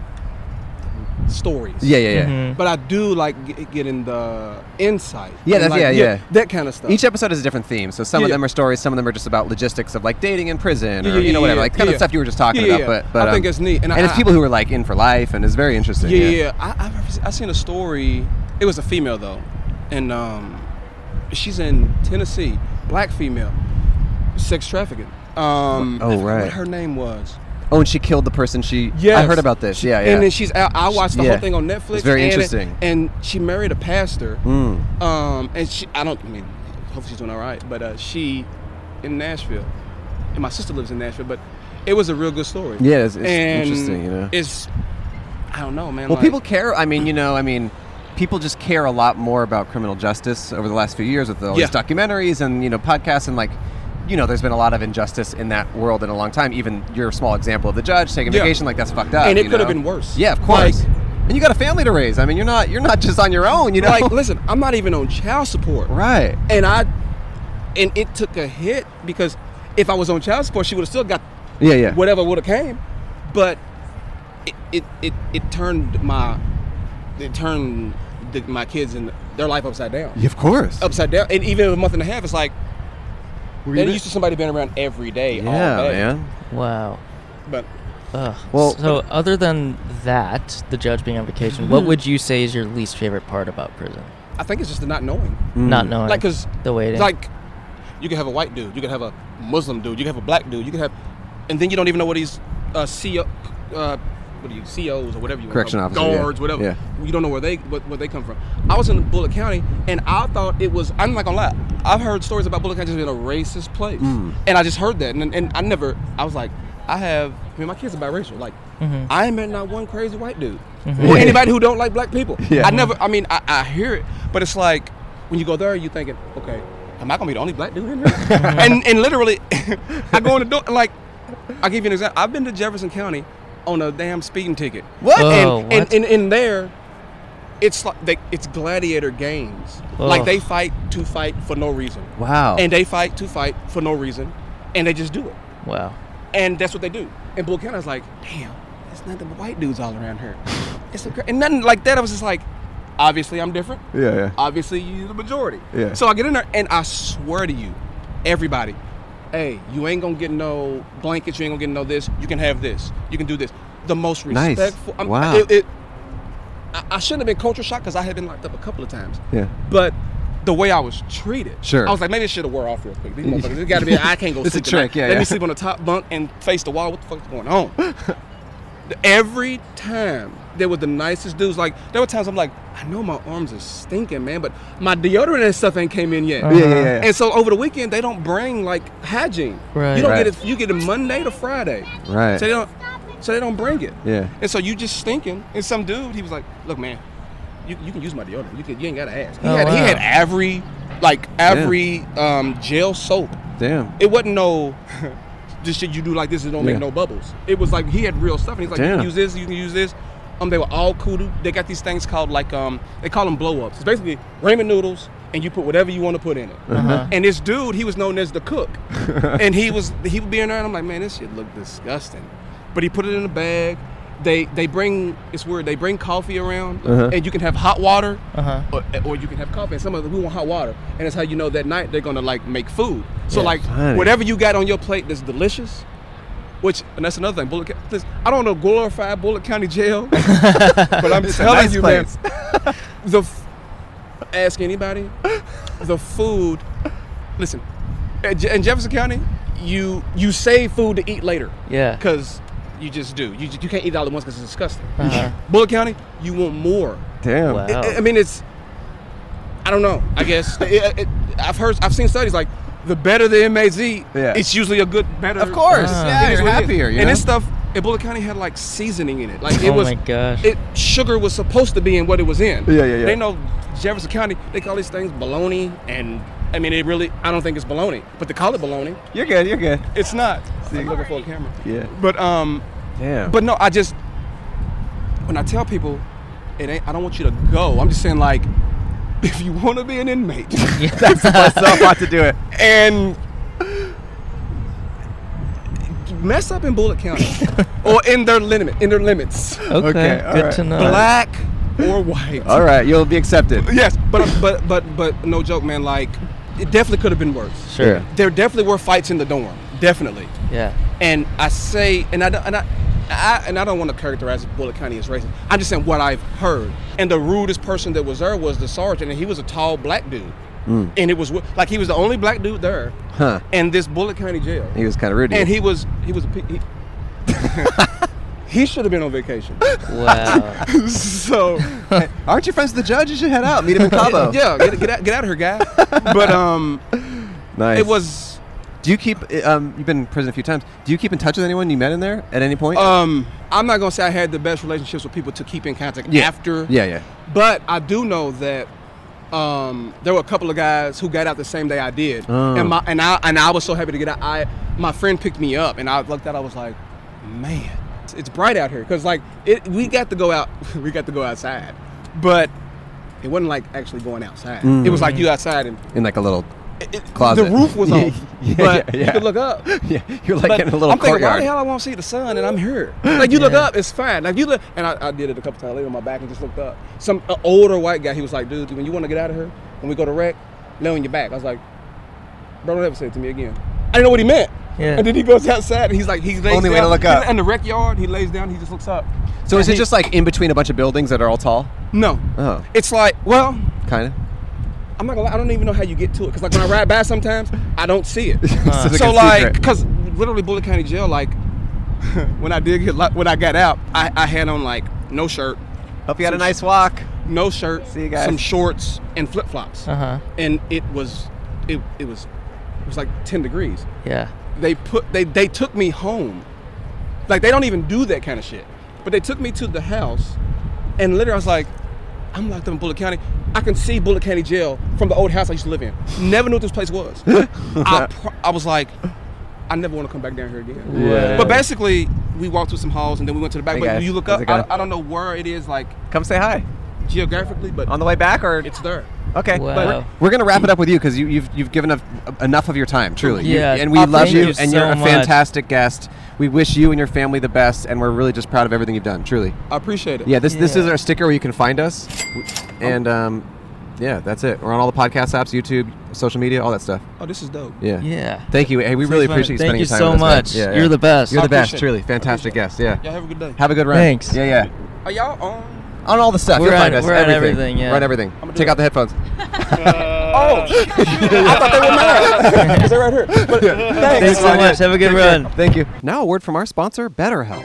Speaker 5: stories.
Speaker 2: Yeah, yeah, yeah.
Speaker 5: But I do like g- getting the insight.
Speaker 2: Yeah,
Speaker 5: And,
Speaker 2: that's-
Speaker 5: like,
Speaker 2: yeah, yeah.
Speaker 5: That kind of stuff.
Speaker 2: Each episode has a different theme, so some of
Speaker 5: Yeah.
Speaker 2: them are stories, some of them are just about logistics of like dating in prison, or
Speaker 5: Yeah, yeah,
Speaker 2: you know
Speaker 5: yeah,
Speaker 2: whatever,
Speaker 5: yeah.
Speaker 2: like kind
Speaker 5: Yeah,
Speaker 2: of
Speaker 5: yeah.
Speaker 2: stuff you were just talking
Speaker 5: Yeah,
Speaker 2: about.
Speaker 5: yeah.
Speaker 2: But, but um,
Speaker 5: I think it's neat,
Speaker 2: and,
Speaker 5: and
Speaker 2: it's
Speaker 5: I-
Speaker 2: people who are like in for life, and it's very interesting.
Speaker 5: Yeah, yeah. yeah. I, I've I seen a story. It was a female though, and um, she's in Tennessee, black female, sex trafficking. Um,
Speaker 2: Oh,
Speaker 5: I forgot
Speaker 2: right.
Speaker 5: What her name was.
Speaker 2: Oh, and she killed the person she. I
Speaker 5: Yes.
Speaker 2: heard about this.
Speaker 5: She-
Speaker 2: Yeah, yeah.
Speaker 5: And then she's out. I watched the
Speaker 2: Yeah.
Speaker 5: whole thing on Netflix.
Speaker 2: It's very
Speaker 5: and it-
Speaker 2: interesting.
Speaker 5: and she married a pastor.
Speaker 2: Mm.
Speaker 5: Um, and she, I don't I mean, hopefully she's doing all right, but uh, she in Nashville, and my sister lives in Nashville, but it was a real good story.
Speaker 2: Yeah, it's- it's
Speaker 5: And
Speaker 2: interesting, you know.
Speaker 5: It's, I don't know, man.
Speaker 2: Well,
Speaker 5: like-
Speaker 2: people care. I mean, you know, I mean, people just care a lot more about criminal justice over the last few years with all
Speaker 5: Yeah.
Speaker 2: these documentaries and you know podcasts and like, you know, there's been a lot of injustice in that world in a long time. Even your small example of the judge taking
Speaker 5: Yeah.
Speaker 2: vacation, like that's fucked up.
Speaker 5: And it
Speaker 2: you
Speaker 5: could have
Speaker 2: know?
Speaker 5: been worse.
Speaker 2: Yeah, of course.
Speaker 5: Like-
Speaker 2: and you got a family to raise. I mean, you're not you're not just on your own. You know,
Speaker 5: like, listen, I'm not even on child support,
Speaker 2: right?
Speaker 5: and I, and it took a hit because if I was on child support, she would have still got
Speaker 2: Yeah, yeah.
Speaker 5: whatever would have came, but it, it it it turned my it turned the, my kids and their life upside down,
Speaker 2: Yeah, of course.
Speaker 5: upside down, and even a month and a half, it's like
Speaker 2: Were you
Speaker 5: they're
Speaker 2: there?
Speaker 5: used to somebody being around every day,
Speaker 2: yeah,
Speaker 5: all day.
Speaker 2: man.
Speaker 3: Wow.
Speaker 5: But
Speaker 3: Ugh.
Speaker 2: Well-
Speaker 3: so other than that, the judge being on vacation,
Speaker 5: Hmm.
Speaker 3: what would you say is your least favorite part about prison?
Speaker 5: I think it's just the not knowing,
Speaker 2: Mm. Hmm.
Speaker 3: Not knowing,
Speaker 5: like because
Speaker 3: the waiting.
Speaker 5: like you can have a white dude, you can have a Muslim dude, you can have a black dude, you can have, and then you don't even know what he's uh, CEO, uh, what are you COs or whatever you wanna
Speaker 2: Correction
Speaker 5: call them,
Speaker 2: officer, yeah.
Speaker 5: guards whatever
Speaker 2: Yeah.
Speaker 5: you don't know where they what, where they come from. I was in Bullock County and I thought it was I'm not gonna lie I've heard stories about Bullock County just being a racist place
Speaker 2: Mm.
Speaker 5: and I just heard that and and I never I was like I have I mean my kids are biracial like I ain't met not one crazy white dude or
Speaker 2: Mm-hmm. Yeah.
Speaker 5: anybody who don't like black people.
Speaker 2: Yeah.
Speaker 5: I never I mean I, I hear it but it's like when you go there you thinking okay am I gonna be the only black dude in here and and literally I go in the door like I'll give you an example. I've been to Jefferson County on a damn speeding ticket.
Speaker 2: What?
Speaker 5: And,
Speaker 3: Oh,
Speaker 5: and
Speaker 3: what?
Speaker 5: and in there, it's like they, it's gladiator games. Like
Speaker 3: Ugh.
Speaker 5: they fight to fight for no reason.
Speaker 2: Wow.
Speaker 5: And they fight to fight for no reason, and they just do it.
Speaker 3: Wow.
Speaker 5: And that's what they do. And Bull County's like, damn, there's nothing but white dudes all around here. It's a, and nothing like that. I was just like, obviously I'm different.
Speaker 2: Yeah, yeah.
Speaker 5: Obviously you're the majority.
Speaker 2: Yeah.
Speaker 5: So I get in there and I swear to you, everybody, hey, you ain't gonna get no blankets. You ain't gonna get no this. You can have this. You can do this. The most
Speaker 2: Nice.
Speaker 5: respectful. I'm-
Speaker 2: Wow.
Speaker 5: It, it, I, I shouldn't have been culture shocked because I had been locked up a couple of times.
Speaker 2: Yeah.
Speaker 5: But the way I was treated,
Speaker 2: Sure.
Speaker 5: I was like, maybe it should have wore off real quick. These motherfuckers, it got to be. I can't go
Speaker 2: It's a
Speaker 5: sleep tonight.
Speaker 2: trick, yeah,
Speaker 5: Let
Speaker 2: yeah.
Speaker 5: me sleep on the top bunk and face the wall. What the fuck's going on? Every time they were the nicest dudes. Like there were times I'm like, I know my arms are stinking, man, but my deodorant and stuff ain't came in yet.
Speaker 2: Yeah, yeah, yeah.
Speaker 5: And so over the weekend they don't bring like hygiene.
Speaker 3: Right.
Speaker 5: You don't
Speaker 2: Right.
Speaker 5: get it. You get it Monday to Friday.
Speaker 2: Right.
Speaker 5: So they don't. So they don't bring it.
Speaker 2: Yeah.
Speaker 5: And so you just stinking. And some dude, he was like, "Look, man, you, you can use my deodorant. You can, you ain't gotta ask." He,
Speaker 3: Oh,
Speaker 5: had, he
Speaker 3: wow.
Speaker 5: had every, like every um, gel soap.
Speaker 2: Damn.
Speaker 5: It wasn't no. This shit you do like this, it don't
Speaker 2: Yeah.
Speaker 5: make no bubbles. It was like he had real stuff, and he's like, you
Speaker 2: Damn.
Speaker 5: can use this, you can use this. Um, they were all kudu. They got these things called like um, they call them blow ups. It's basically ramen noodles, and you put whatever you want to put in it. And this dude, he was known as the cook, and he was he would be in there, and I'm like, man, this shit look disgusting. But he put it in a bag. They they bring it's weird. They bring coffee around, and you can have hot water,
Speaker 3: Uh-huh.
Speaker 5: or, or you can have coffee. And some of them we want hot water, and that's how you know that night they're gonna like make food. So like
Speaker 2: Funny.
Speaker 5: whatever you got on your plate that's delicious, which and that's another thing. Bullet, Ca- this, I don't know glorify Bullet County Jail, but I'm
Speaker 2: a
Speaker 5: telling
Speaker 2: nice
Speaker 5: you, man, the f- ask anybody, the food. Listen, in Je- in Jefferson County, you you save food to eat later.
Speaker 3: Yeah.
Speaker 5: because you just do. You ju- you can't eat it all at once because it's disgusting.
Speaker 3: Uh-huh.
Speaker 5: Bullet County, you want more.
Speaker 2: Damn.
Speaker 3: Wow.
Speaker 5: I- I, I mean, it's. I don't know. I guess it, it, I've heard. I've seen studies like the better the inmates eat,
Speaker 2: Yeah.
Speaker 5: it's usually a good better.
Speaker 2: Of course.
Speaker 3: Ah.
Speaker 2: Yeah,
Speaker 5: It is
Speaker 2: you're
Speaker 5: what it is.
Speaker 2: happier. You
Speaker 5: and
Speaker 2: know?
Speaker 5: this stuff in Bullock County had like seasoning in it. Like it
Speaker 3: oh
Speaker 5: was.
Speaker 3: my gosh.
Speaker 5: It sugar was supposed to be in what it was in.
Speaker 2: Yeah, yeah, yeah.
Speaker 5: They know Jefferson County. They call these things baloney, and I mean, it really. I don't think it's baloney, but they call it baloney.
Speaker 2: you're good. You're good.
Speaker 5: It's not. I'm looking for a camera.
Speaker 2: Yeah.
Speaker 5: But um,
Speaker 2: Damn.
Speaker 5: but no, I just when I tell people it ain't I don't want you to go. I'm just saying like if you want to be an inmate
Speaker 2: that's myself about to do it.
Speaker 5: and mess up in Bullet County or in their limit, in their limits,
Speaker 3: okay.
Speaker 2: okay, all
Speaker 3: good
Speaker 2: right.
Speaker 3: to know.
Speaker 5: black or white.
Speaker 2: All right. You'll be accepted.
Speaker 5: Yes, but but but but no joke, man. Like it definitely could have been worse.
Speaker 3: Sure.
Speaker 2: Yeah.
Speaker 5: There definitely were fights in the dorm. Definitely.
Speaker 3: Yeah.
Speaker 5: and I say, and I don't, and I, I, and I don't want to characterize Bullock County as racist. I'm just saying what I've heard. And the rudest person that was there was the sergeant, and he was a tall black dude. And it was wi- like he was the only black dude there.
Speaker 2: Mm. Huh.
Speaker 5: In this Bullock County jail.
Speaker 2: He was kind of rude. to
Speaker 5: and
Speaker 2: you.
Speaker 5: he was he was a pe- he, he should have been on vacation.
Speaker 3: Wow.
Speaker 5: so
Speaker 2: Aren't you friends with the judge? You should head out. Meet him in Cabo.
Speaker 5: yeah, get, get out get out of here, guy. But um,
Speaker 2: Nice.
Speaker 5: it was
Speaker 2: Do you keep? Um, you've been in prison a few times. Do you keep in touch with anyone you met in there at any point?
Speaker 5: um. I'm not gonna say I had the best relationships with people to keep in contact
Speaker 2: Yeah.
Speaker 5: after.
Speaker 2: yeah, yeah.
Speaker 5: But I do know that um, there were a couple of guys who got out the same day I did,
Speaker 2: Oh.
Speaker 5: and my and I and I was so happy to get out. I my friend picked me up, and I looked out. I was like, man, it's- it's bright out here because like it, we got to go out, we got to go outside, but it wasn't like actually going outside. It was like you outside and
Speaker 2: In like a little.
Speaker 5: it, it-
Speaker 2: Mm. Closet.
Speaker 5: The roof was off,
Speaker 2: Yeah,
Speaker 5: but
Speaker 2: yeah,
Speaker 5: you
Speaker 2: yeah.
Speaker 5: could look up.
Speaker 2: Yeah, you're like
Speaker 5: But
Speaker 2: in a little
Speaker 5: I'm thinking, why
Speaker 2: courtyard.
Speaker 5: the hell I want to see the sun and I'm here? Like you look
Speaker 3: Yeah.
Speaker 5: up, it's fine. Like you look, and I, I did it a couple times. I laid on my back and just looked up. Some uh, older white guy, he was like, "Dude, when you want to get out of here, when we go to rec, lay on your back." I was like, "Bro, don't ever say it to me again." I didn't know what he meant.
Speaker 3: Yeah.
Speaker 5: And then he goes outside and he's like, he lays
Speaker 2: Only way to
Speaker 5: down-
Speaker 2: look up.
Speaker 5: In the rec yard, he lays down. He just looks up.
Speaker 2: so is
Speaker 5: And
Speaker 2: it
Speaker 5: he-
Speaker 2: just like in between a bunch of buildings that are all tall?
Speaker 5: no?
Speaker 2: Oh.
Speaker 5: It's like, well,
Speaker 2: Kind of.
Speaker 5: I'm not gonna lie, I don't even know how you get to it because like when I ride by sometimes I don't see it.
Speaker 2: It's like
Speaker 5: so
Speaker 2: a
Speaker 5: like,
Speaker 2: secret.
Speaker 5: because literally Bullet County Jail, like when I did get lo- when I got out, I, I had on like no shirt,
Speaker 2: Hope you had a nice walk.
Speaker 5: no shirt,
Speaker 2: See you guys. Uh-huh.
Speaker 5: some shorts and flip flops,
Speaker 3: Uh huh.
Speaker 5: and it was it, it was it was like ten degrees.
Speaker 3: Yeah.
Speaker 5: They put they they took me home, like they don't even do that kind of shit. But they took me to the house, and literally I was like, I'm locked up in Bullitt County. I can see Bullitt County Jail from the old house I used to live in. Never knew what this place was. I, pro- I was like, I never want to come back down here again.
Speaker 2: Yeah.
Speaker 5: But basically, we walked through some halls and then we went to the back.
Speaker 2: Hey,
Speaker 5: but
Speaker 2: guys,
Speaker 5: you look
Speaker 2: how's
Speaker 5: up,
Speaker 2: it
Speaker 5: I,
Speaker 2: going?
Speaker 5: I don't know where it is, like
Speaker 2: Come say hi.
Speaker 5: geographically, but
Speaker 2: On the way back or
Speaker 5: it's there.
Speaker 2: okay.
Speaker 3: Wow.
Speaker 2: But We're, we're gonna wrap it up with you because you, you've you've given up enough of your time, truly. You-
Speaker 3: Yeah.
Speaker 2: and we
Speaker 3: Oh,
Speaker 2: love
Speaker 3: thank
Speaker 2: you,
Speaker 3: you
Speaker 2: and
Speaker 3: so
Speaker 2: you're a
Speaker 3: much.
Speaker 2: fantastic guest. We wish you and your family the best, and we're really just proud of everything you've done, truly.
Speaker 5: I appreciate it.
Speaker 2: Yeah, this this
Speaker 3: Yeah. Oh.
Speaker 2: is our sticker where you can find us, and um, yeah, that's it. We're on all the podcast apps, YouTube, social media, all that stuff.
Speaker 5: Oh, this is dope.
Speaker 2: Yeah.
Speaker 3: Yeah.
Speaker 2: Thank you. Hey, we really
Speaker 3: Thanks, man.
Speaker 2: appreciate you
Speaker 3: Thank
Speaker 2: spending
Speaker 3: you
Speaker 2: your time
Speaker 3: so
Speaker 2: with us,
Speaker 3: much.
Speaker 2: man. Yeah, yeah.
Speaker 3: You're the best.
Speaker 2: You're the
Speaker 5: I
Speaker 2: best,
Speaker 5: appreciate it.
Speaker 2: truly.
Speaker 5: I
Speaker 2: Fantastic
Speaker 5: appreciate
Speaker 2: guest. Yeah.
Speaker 5: Y'all have a good day.
Speaker 2: Have a good run.
Speaker 3: Thanks.
Speaker 2: Yeah, yeah.
Speaker 5: Are y'all on?
Speaker 2: On all the stuff.
Speaker 3: We're
Speaker 2: You'll
Speaker 3: on-
Speaker 2: find us.
Speaker 3: we're on
Speaker 2: everything.
Speaker 3: everything, yeah.
Speaker 2: We're on everything.
Speaker 5: I'ma do
Speaker 2: Take
Speaker 5: it.
Speaker 2: out the headphones.
Speaker 5: oh, shoot, I thought they were mad. They're right here. But
Speaker 3: Thanks so much. Have a good run.
Speaker 2: Thank you. Now, a word from our sponsor, BetterHelp.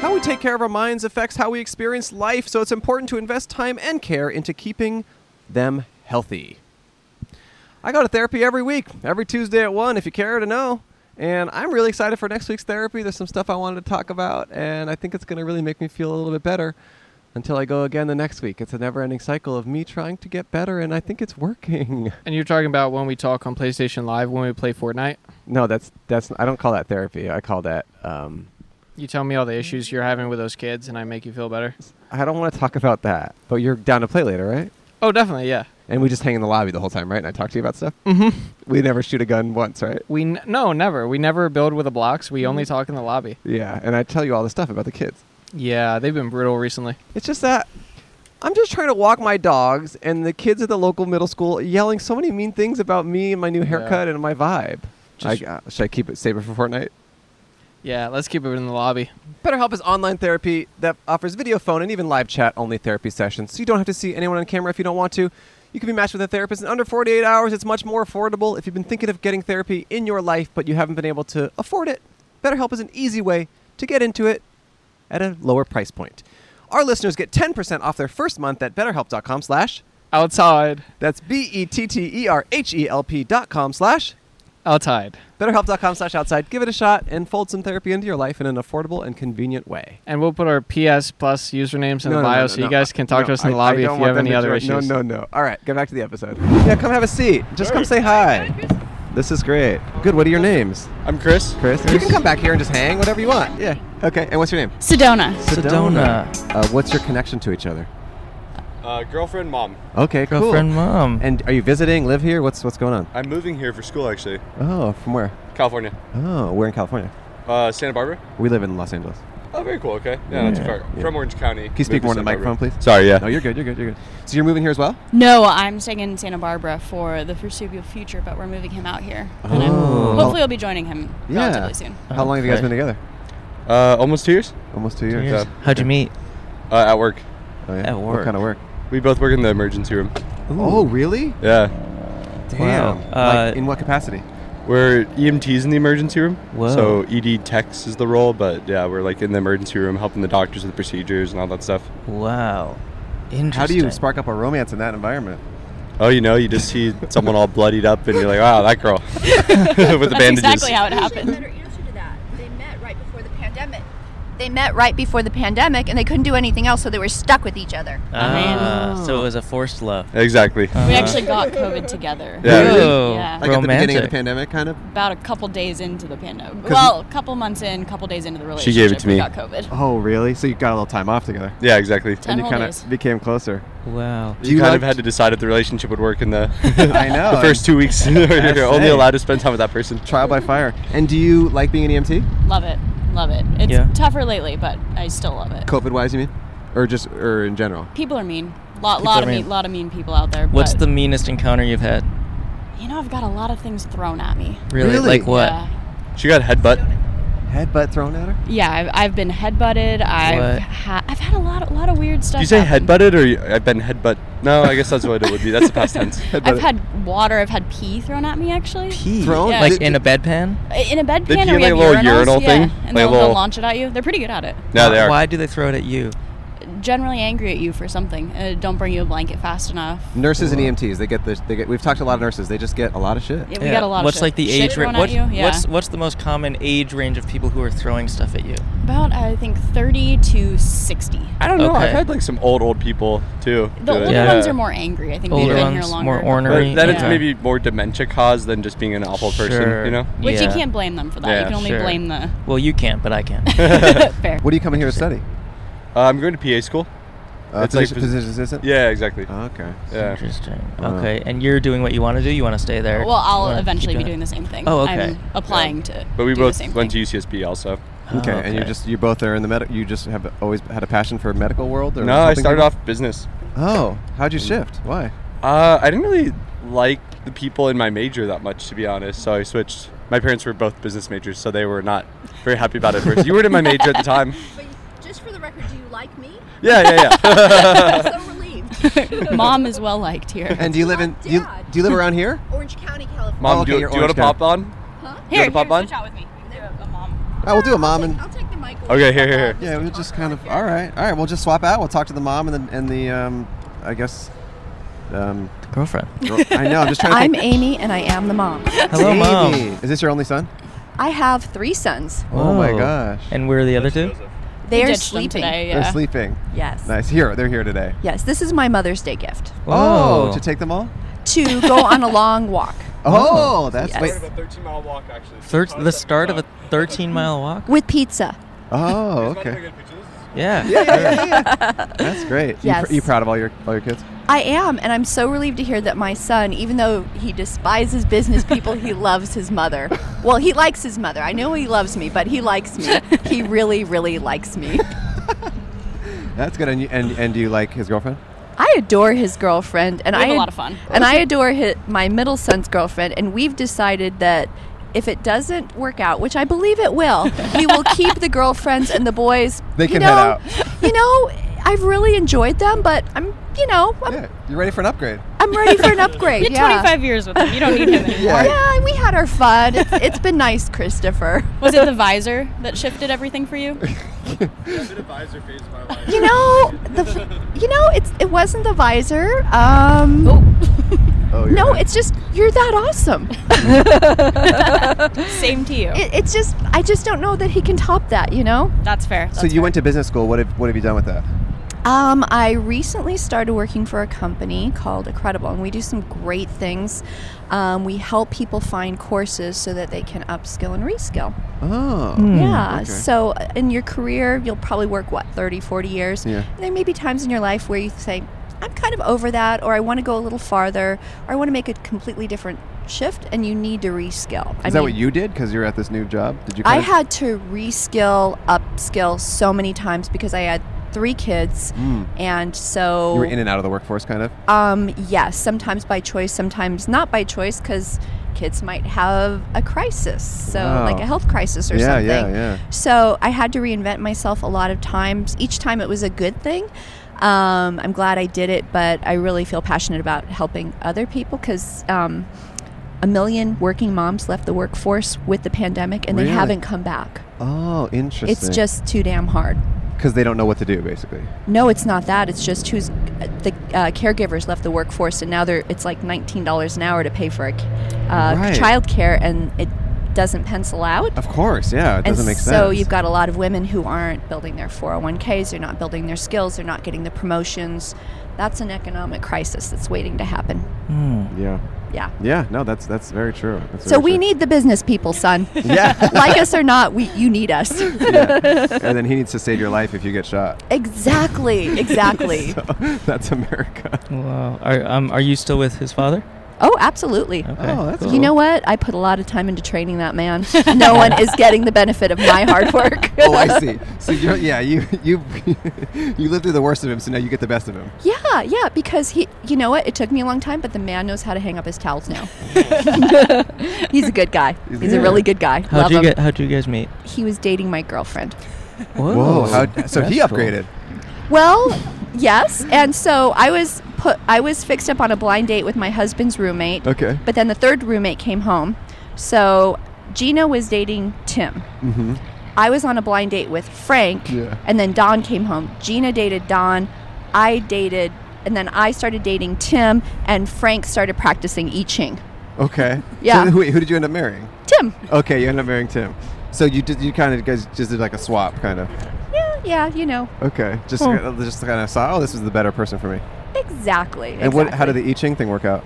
Speaker 2: How we take care of our minds affects how we experience life, so it's important to invest time and care into keeping them healthy. I go to therapy every week, every Tuesday at 1, if you care to know. And I'm really excited for next week's therapy. There's some stuff I wanted to talk about, and I think it's going to really make me feel a little bit better until I go again the next week. It's a never ending cycle of me trying to get better, and I think it's working.
Speaker 1: And you're talking about when we talk on PlayStation Live when we play Fortnite.
Speaker 2: No, that's, that's, I don't call that therapy. I call that, um,
Speaker 1: You tell me all
Speaker 2: Mm-hmm.
Speaker 1: the issues you're having with those kids, and I make you feel better.
Speaker 2: I don't want to talk about that. But you're down to play later, right?
Speaker 1: Oh, definitely, yeah.
Speaker 2: And we just hang in the lobby the whole time, right? And I talk to you about stuff. Mm-hmm. We never shoot a gun once, right?
Speaker 1: We n- no, never. We never build with the blocks. We
Speaker 2: Mm-hmm.
Speaker 1: only talk in the lobby.
Speaker 2: Yeah. And I tell you all the stuff about the kids.
Speaker 1: Yeah, they've been brutal recently.
Speaker 2: It's just that I'm just trying to walk my dogs, and the kids at the local middle school yelling so many mean things about me and my new haircut and my vibe.
Speaker 1: Just-
Speaker 2: I, uh, should I keep it saber for Fortnite?
Speaker 1: Yeah, let's keep it in the lobby.
Speaker 2: BetterHelp is online therapy that offers video, phone, and even live chat only therapy sessions. So you don't have to see anyone on camera if you don't want to. You can be matched with a therapist in under 48 hours. It's much more affordable. If you've been thinking of getting therapy in your life but you haven't been able to afford it, BetterHelp is an easy way to get into it at a lower price point. Our listeners get 10% off their first month at betterhelp.com slash.
Speaker 1: Outside,
Speaker 2: That's E B-E-T-T-E-R-H-E-L-P E dot com slash
Speaker 1: outside,
Speaker 2: betterhelp.com slash outside. Give it a shot and fold some therapy into your life in an affordable and convenient way.
Speaker 1: and we'll put our PS Plus usernames in the bio so you guys can talk
Speaker 2: No,
Speaker 1: to us in
Speaker 2: I-
Speaker 1: the lobby
Speaker 2: I
Speaker 1: if
Speaker 2: don't
Speaker 1: you have
Speaker 2: want them
Speaker 1: any
Speaker 2: to
Speaker 1: other
Speaker 2: join-
Speaker 1: issues.
Speaker 2: No, no, no. All right, get back to the episode. Yeah, come have a seat. Just come say hi. This is great. Good. What are your names,
Speaker 5: I'm Chris.
Speaker 2: Chris? You can come back here and just hang, whatever you want. Yeah. Okay. And what's your name?
Speaker 6: Sedona.
Speaker 3: Sedona.
Speaker 2: Uh, what's your connection to each other?
Speaker 7: Uh, girlfriend, mom.
Speaker 2: Okay. Cool.
Speaker 3: Girlfriend, mom.
Speaker 2: And are you visiting? Live here? What's what's going on?
Speaker 7: I'm moving here for school, actually.
Speaker 2: Oh, from where?
Speaker 7: California.
Speaker 2: Oh, we're in California.
Speaker 7: Uh, Santa Barbara.
Speaker 2: We live in Los Angeles.
Speaker 7: Oh, very cool. Okay. Yeah, not too far.
Speaker 2: Yeah.
Speaker 7: From Orange County.
Speaker 2: Can you speak
Speaker 7: Moved
Speaker 2: more into the
Speaker 7: Santa
Speaker 2: microphone,
Speaker 7: Barbara.
Speaker 2: please?
Speaker 7: Sorry, yeah.
Speaker 2: No, you're good. You're good. You're good. So you're moving here as well?
Speaker 6: No, I'm staying in Santa Barbara for the foreseeable future, but we're moving him out here.
Speaker 7: Uh-huh.
Speaker 6: And I'm-
Speaker 2: Oh.
Speaker 6: Hopefully, I'll be joining him
Speaker 2: Yeah.
Speaker 6: relatively soon.
Speaker 2: How long have you guys
Speaker 3: Okay.
Speaker 2: been together?
Speaker 7: Uh, almost two years
Speaker 2: Almost two years.
Speaker 3: Here's-
Speaker 7: Yeah.
Speaker 3: How'd you meet?
Speaker 7: uh, at work.
Speaker 2: Oh, yeah.
Speaker 3: At
Speaker 2: What
Speaker 3: work.
Speaker 2: kind of work?
Speaker 7: We both work in the emergency room.
Speaker 2: Oh, really?
Speaker 7: Yeah.
Speaker 2: Damn.
Speaker 3: Wow.
Speaker 2: like,
Speaker 3: Uh,
Speaker 2: in what capacity?
Speaker 7: We're EMTs in the emergency room.
Speaker 3: Whoa.
Speaker 7: So ED techs is the role, but yeah, we're like in the emergency room helping the doctors with procedures and all that stuff.
Speaker 3: Wow. Interesting.
Speaker 2: How do you spark up a romance in that environment?
Speaker 7: Oh, you know, you just see someone all bloodied up and you're like, wow, that girl with the
Speaker 6: That's
Speaker 7: bandages.
Speaker 6: exactly how it
Speaker 8: Usually
Speaker 6: happened.
Speaker 8: better answer to that. They met right before the pandemic. They met right before the pandemic, and they couldn't do anything else, so they were stuck with each other.
Speaker 3: Ah, so it was a forced love.
Speaker 7: Exactly.
Speaker 3: Uh-huh.
Speaker 6: We actually got COVID together.
Speaker 7: Yeah. Really?
Speaker 3: Whoa,
Speaker 6: Yeah. Like
Speaker 2: Like at the beginning of the
Speaker 3: romantic.
Speaker 2: pandemic, kind of.
Speaker 6: About a couple days into the pandemic.
Speaker 2: you-
Speaker 6: Well, a couple months in, couple days into the
Speaker 7: She
Speaker 6: relationship,
Speaker 7: gave it to
Speaker 6: we
Speaker 7: me.
Speaker 6: got COVID.
Speaker 2: Oh, really? So you got a little time off together,
Speaker 7: yeah, exactly.
Speaker 6: Ten
Speaker 2: and you
Speaker 6: whole
Speaker 2: kind
Speaker 6: days.
Speaker 2: of became closer.
Speaker 3: wow.
Speaker 7: You,
Speaker 2: you
Speaker 7: kind
Speaker 2: like-
Speaker 7: of had to decide if the relationship would work in the
Speaker 2: I know.
Speaker 7: the first two weeks you're only
Speaker 2: it.
Speaker 7: allowed to spend time with that person.
Speaker 2: trial by fire. And do you like being an E EMT?
Speaker 6: Love it. Love it. It's
Speaker 3: Yeah.
Speaker 6: tougher lately, but I still love it.
Speaker 2: COVID wise, you mean, or just or in general?
Speaker 6: People are mean. Lot,
Speaker 3: People
Speaker 6: lot
Speaker 3: are
Speaker 6: of mean.
Speaker 3: mean.
Speaker 6: lot of mean people out there.
Speaker 3: What's the
Speaker 6: but,
Speaker 3: meanest encounter you've had?
Speaker 6: You know, I've got a lot of things thrown at me.
Speaker 3: Really?
Speaker 2: Really?
Speaker 6: Uh,
Speaker 3: Like what?
Speaker 6: Yeah.
Speaker 7: She got headbutt.
Speaker 2: Headbutt thrown at her?
Speaker 6: Yeah, I've, I've been headbutted. I've
Speaker 3: What?
Speaker 6: ha- I've had a lot a lot of weird stuff.
Speaker 7: Do you say
Speaker 6: happen.
Speaker 7: headbutted or you- I've been headbutt? No, I guess that's what it would be. That's the past tense.
Speaker 2: Headbutted.
Speaker 6: I've had water. I've had pee thrown at me actually.
Speaker 3: Pee.
Speaker 2: Thrown?
Speaker 6: Yeah.
Speaker 3: Like
Speaker 2: Did-
Speaker 3: in a bedpan?
Speaker 6: In a bedpan,
Speaker 7: They
Speaker 6: or
Speaker 7: pee like
Speaker 6: we have
Speaker 7: a little
Speaker 6: urinals,
Speaker 7: urinal
Speaker 6: yeah,
Speaker 7: thing?
Speaker 6: and
Speaker 7: Like a
Speaker 6: they'll,
Speaker 7: little-
Speaker 6: they'll launch it at you. They're pretty good at it.
Speaker 7: No, they are.
Speaker 3: Why do they throw it at you?
Speaker 6: Generally angry at you for something. Uh, don't bring you a blanket fast enough.
Speaker 2: Nurses and EMTs, they get the they get. We've talked to a lot of nurses. They just get a lot of shit.
Speaker 6: Yeah, we got a lot
Speaker 3: What's
Speaker 6: of shit.
Speaker 3: like the
Speaker 6: Shit
Speaker 3: age
Speaker 6: thrown
Speaker 3: range?
Speaker 6: at
Speaker 3: What,
Speaker 6: you, yeah.
Speaker 3: What's what's the most common age range of people who are throwing stuff at you?
Speaker 6: about I think 30 to 60.
Speaker 7: I don't know. I've
Speaker 3: Okay.
Speaker 7: had like some old old people too. do
Speaker 6: The
Speaker 7: it.
Speaker 6: older
Speaker 3: Yeah.
Speaker 6: ones are more angry. I think
Speaker 3: Older
Speaker 6: they've been here
Speaker 3: ones,
Speaker 6: longer.
Speaker 3: more
Speaker 7: But
Speaker 3: ornery.
Speaker 7: then
Speaker 6: Yeah.
Speaker 7: it's maybe more dementia caused than just being an awful person,
Speaker 3: Sure.
Speaker 7: you know?
Speaker 6: Which you
Speaker 3: Yeah.
Speaker 6: can't blame them for that.
Speaker 7: Yeah,
Speaker 6: you can only
Speaker 3: sure.
Speaker 6: blame the
Speaker 3: Well, you can't, but I can.
Speaker 6: fair.
Speaker 2: What are you coming here to study?
Speaker 7: Uh, I'm going to PA school. Uh,
Speaker 2: Uh,
Speaker 7: It's like
Speaker 2: physician-
Speaker 7: phys-
Speaker 2: physician assistant.
Speaker 7: Yeah, exactly.
Speaker 2: Okay.
Speaker 7: Yeah.
Speaker 3: Interesting.
Speaker 2: Wow.
Speaker 3: Okay, and you're doing what you want to do. You want to stay there.
Speaker 6: Well,
Speaker 3: You
Speaker 6: I'll
Speaker 3: wanna keep
Speaker 6: eventually be doing the same thing.
Speaker 3: Oh, okay.
Speaker 6: I'm applying to.
Speaker 7: But we
Speaker 6: do the
Speaker 7: both
Speaker 6: same
Speaker 7: went
Speaker 6: thing.
Speaker 7: to UCSB also.
Speaker 3: Oh,
Speaker 2: Okay, and you just you both are in the medic. You just have always had a passion for medical world. Or
Speaker 7: No, I
Speaker 2: helping
Speaker 7: started
Speaker 2: people?
Speaker 7: off Mm. business.
Speaker 2: Oh, how'd you shift? Why?
Speaker 7: Uh, I didn't really like the people in my major that much, to be honest. So I switched. My parents were both business majors, so they were not very happy about it at first. You weren't in my major at the time.
Speaker 8: But just for the record, do you like me?
Speaker 7: Yeah, yeah, yeah.
Speaker 8: I'm so relieved.
Speaker 6: Mom is well liked here.
Speaker 2: And do you live in do you,
Speaker 8: Dad.
Speaker 2: do you live around here?
Speaker 8: Orange County, California.
Speaker 7: Mom,
Speaker 2: Oh, okay,
Speaker 7: do, you-
Speaker 2: you're
Speaker 7: do you want
Speaker 2: orange
Speaker 7: to pop on?
Speaker 8: Huh?
Speaker 7: You wanna pop on?
Speaker 6: with me. A mom.
Speaker 2: I will Oh, do a mom
Speaker 8: I'll
Speaker 2: and
Speaker 8: take, I'll take the mic.
Speaker 7: Okay, here, here, here.
Speaker 2: yeah, we'll just kind of all right, all right. We'll just swap out. We'll talk to the mom and the and the um, I guess. Um,
Speaker 3: girlfriend.
Speaker 2: girl- I know. I'm just trying to.
Speaker 8: I'm
Speaker 2: think.
Speaker 8: Amy, and I am the mom.
Speaker 3: Hello, mom.
Speaker 2: Amy. Is this your only son?
Speaker 8: I have three sons.
Speaker 2: Oh my
Speaker 3: Whoa.
Speaker 2: gosh.
Speaker 3: And where are the other two?
Speaker 8: They are
Speaker 6: ditched
Speaker 8: sleeping.
Speaker 6: Them today, yeah.
Speaker 2: They're sleeping.
Speaker 8: Yes.
Speaker 2: Nice. Here, they're here today.
Speaker 8: Yes, this is my Mother's Day gift
Speaker 2: Oh,
Speaker 3: Whoa.
Speaker 2: to take them all.
Speaker 8: to go on a long walk
Speaker 2: Oh, that's
Speaker 8: Yes.
Speaker 2: wait.
Speaker 8: Started
Speaker 7: 13 mile walk, actually.
Speaker 3: Thir- the start of a 13 mile walk.
Speaker 8: with pizza.
Speaker 2: Oh, okay.
Speaker 3: Yeah.
Speaker 2: Yeah, yeah, yeah, yeah. That's great. You,
Speaker 8: Yes.
Speaker 2: pr- you proud of all your all your kids?
Speaker 8: I am, and I'm so relieved to hear that my son, even though he despises business people, he loves his mother. Well, he likes his mother. I know he loves me, but he likes me. He really, really likes me.
Speaker 2: That's good. And you, and and do you like his girlfriend?
Speaker 8: I adore his girlfriend, and
Speaker 6: We
Speaker 8: I
Speaker 6: have a
Speaker 8: ad-
Speaker 6: lot of fun.
Speaker 8: And I adore hi my middle son's girlfriend, and we've decided that if it doesn't work out, which I believe it will, we will keep the girlfriends and the boys.
Speaker 2: They
Speaker 8: you
Speaker 2: can
Speaker 8: know,
Speaker 2: head out.
Speaker 8: You know, I've really enjoyed them, but I'm, you know, I'm,
Speaker 2: Yeah. You ready for an upgrade?
Speaker 8: I'm ready for an upgrade.
Speaker 6: You're
Speaker 8: yeah.
Speaker 6: 25 years with him. You don't need him anymore.
Speaker 8: Yeah, and we had our fun. It's, it's been nice, Christopher.
Speaker 6: Was it the visor that shifted everything for you?
Speaker 8: You know, the f- you know, it's it wasn't the visor. Um,
Speaker 2: Oh, you're
Speaker 8: no,
Speaker 2: right.
Speaker 8: it's just you're that awesome.
Speaker 6: Same to you.
Speaker 8: It, it's just I just don't know that he can top that. You know.
Speaker 6: That's fair.
Speaker 2: So you went to business school. What have what have you done with that?
Speaker 8: Um, I recently started working for a company called Incredible, and we do some great things. Um, we help people find courses so that they can upskill and reskill.
Speaker 2: Oh.
Speaker 8: yeah.
Speaker 2: okay.
Speaker 8: So uh, in your career, you'll probably work, what, 30, 40 years?
Speaker 2: Yeah.
Speaker 8: And there may be times in your life where you say, I'm kind of over that, or I want to go a little farther, or I want to make a completely different shift, and you need to reskill.
Speaker 2: Is that what you did? Because you're at this new job. Did you?
Speaker 8: I
Speaker 2: kinda-
Speaker 8: had to reskill, upskill so many times because I had three kids,
Speaker 2: Mm.
Speaker 8: and so
Speaker 2: You were in and out of the workforce, kind of.
Speaker 8: um, yes, sometimes by choice, sometimes not by choice, because kids might have a crisis, so
Speaker 2: Wow.
Speaker 8: like a health crisis or
Speaker 2: yeah,
Speaker 8: something.
Speaker 2: yeah, yeah.
Speaker 8: So I had to reinvent myself a lot of times. Each time it was a good thing. Um, I'm glad I did it, but I really feel passionate about helping other people because um, a million working moms left the workforce with the pandemic and
Speaker 2: Really?
Speaker 8: they haven't come back.
Speaker 2: Oh, interesting.
Speaker 8: It's just too damn hard.
Speaker 2: because they don't know what to do, basically.
Speaker 8: No, it's not that. It's just who's the uh, caregivers left the workforce, and now they're it's like nineteen dollars an hour to pay for a c- uh,
Speaker 2: Right.
Speaker 8: child care, and it doesn't pencil out.
Speaker 2: Of course, yeah. It doesn't
Speaker 8: and
Speaker 2: make sense.
Speaker 8: So you've got a lot of women who aren't building their 401ks, they're not building their skills, they're not getting the promotions. That's an economic crisis that's waiting to happen.
Speaker 2: Yeah.
Speaker 8: Yeah.
Speaker 2: Yeah. No, that's that's very true. That's
Speaker 8: So
Speaker 2: very
Speaker 8: we
Speaker 2: true.
Speaker 8: need the business people, son.
Speaker 2: Yeah.
Speaker 8: like us or not, we you need us.
Speaker 2: yeah. And then he needs to save your life if you get shot.
Speaker 8: exactly, exactly.
Speaker 2: that's America.
Speaker 3: Wow. Are um, are you still with his father?
Speaker 8: Oh, absolutely.
Speaker 3: Okay,
Speaker 2: Oh, that's
Speaker 3: cool.
Speaker 8: You know what? I put a lot of time into training that man. no one is getting the benefit of my hard work.
Speaker 2: oh, I see. So you're, yeah, you you you lived through the worst of him, so now you get the best of him.
Speaker 8: yeah, yeah, because he, you know what? It took me a long time, but the man knows how to hang up his towels now. He's a good guy. He's, a really good guy.
Speaker 3: How'd
Speaker 8: Love
Speaker 3: you
Speaker 8: him.
Speaker 3: get? How'd you guys meet?
Speaker 8: he was dating my girlfriend.
Speaker 2: Whoa! how, so he
Speaker 3: That's cool.
Speaker 2: upgraded.
Speaker 8: Well, Oh, yes. And so I was put I was fixed up on a blind date with my husband's roommate.
Speaker 2: Okay.
Speaker 8: But then the third roommate came home. So Gina was dating Tim.
Speaker 2: Mm-hmm.
Speaker 8: I was on a blind date with Frank.
Speaker 2: Yeah.
Speaker 8: And then Don came home. Gina dated Don. I dated and then I started dating Tim and Frank started practicing I Ching.
Speaker 2: Okay.
Speaker 8: Yeah.
Speaker 2: So who, wait, who did you end up marrying?
Speaker 8: Tim.
Speaker 2: Okay, you ended up marrying Tim. So you did you kind of guys just did like a swap, kind of.
Speaker 8: Yeah, yeah, you know.
Speaker 2: Okay. Just
Speaker 3: Hmm.
Speaker 2: kinda- just kind of saw. Oh, this is the better person for me.
Speaker 8: Exactly.
Speaker 2: And what? How did
Speaker 8: exactly.
Speaker 2: the I Ching thing work out?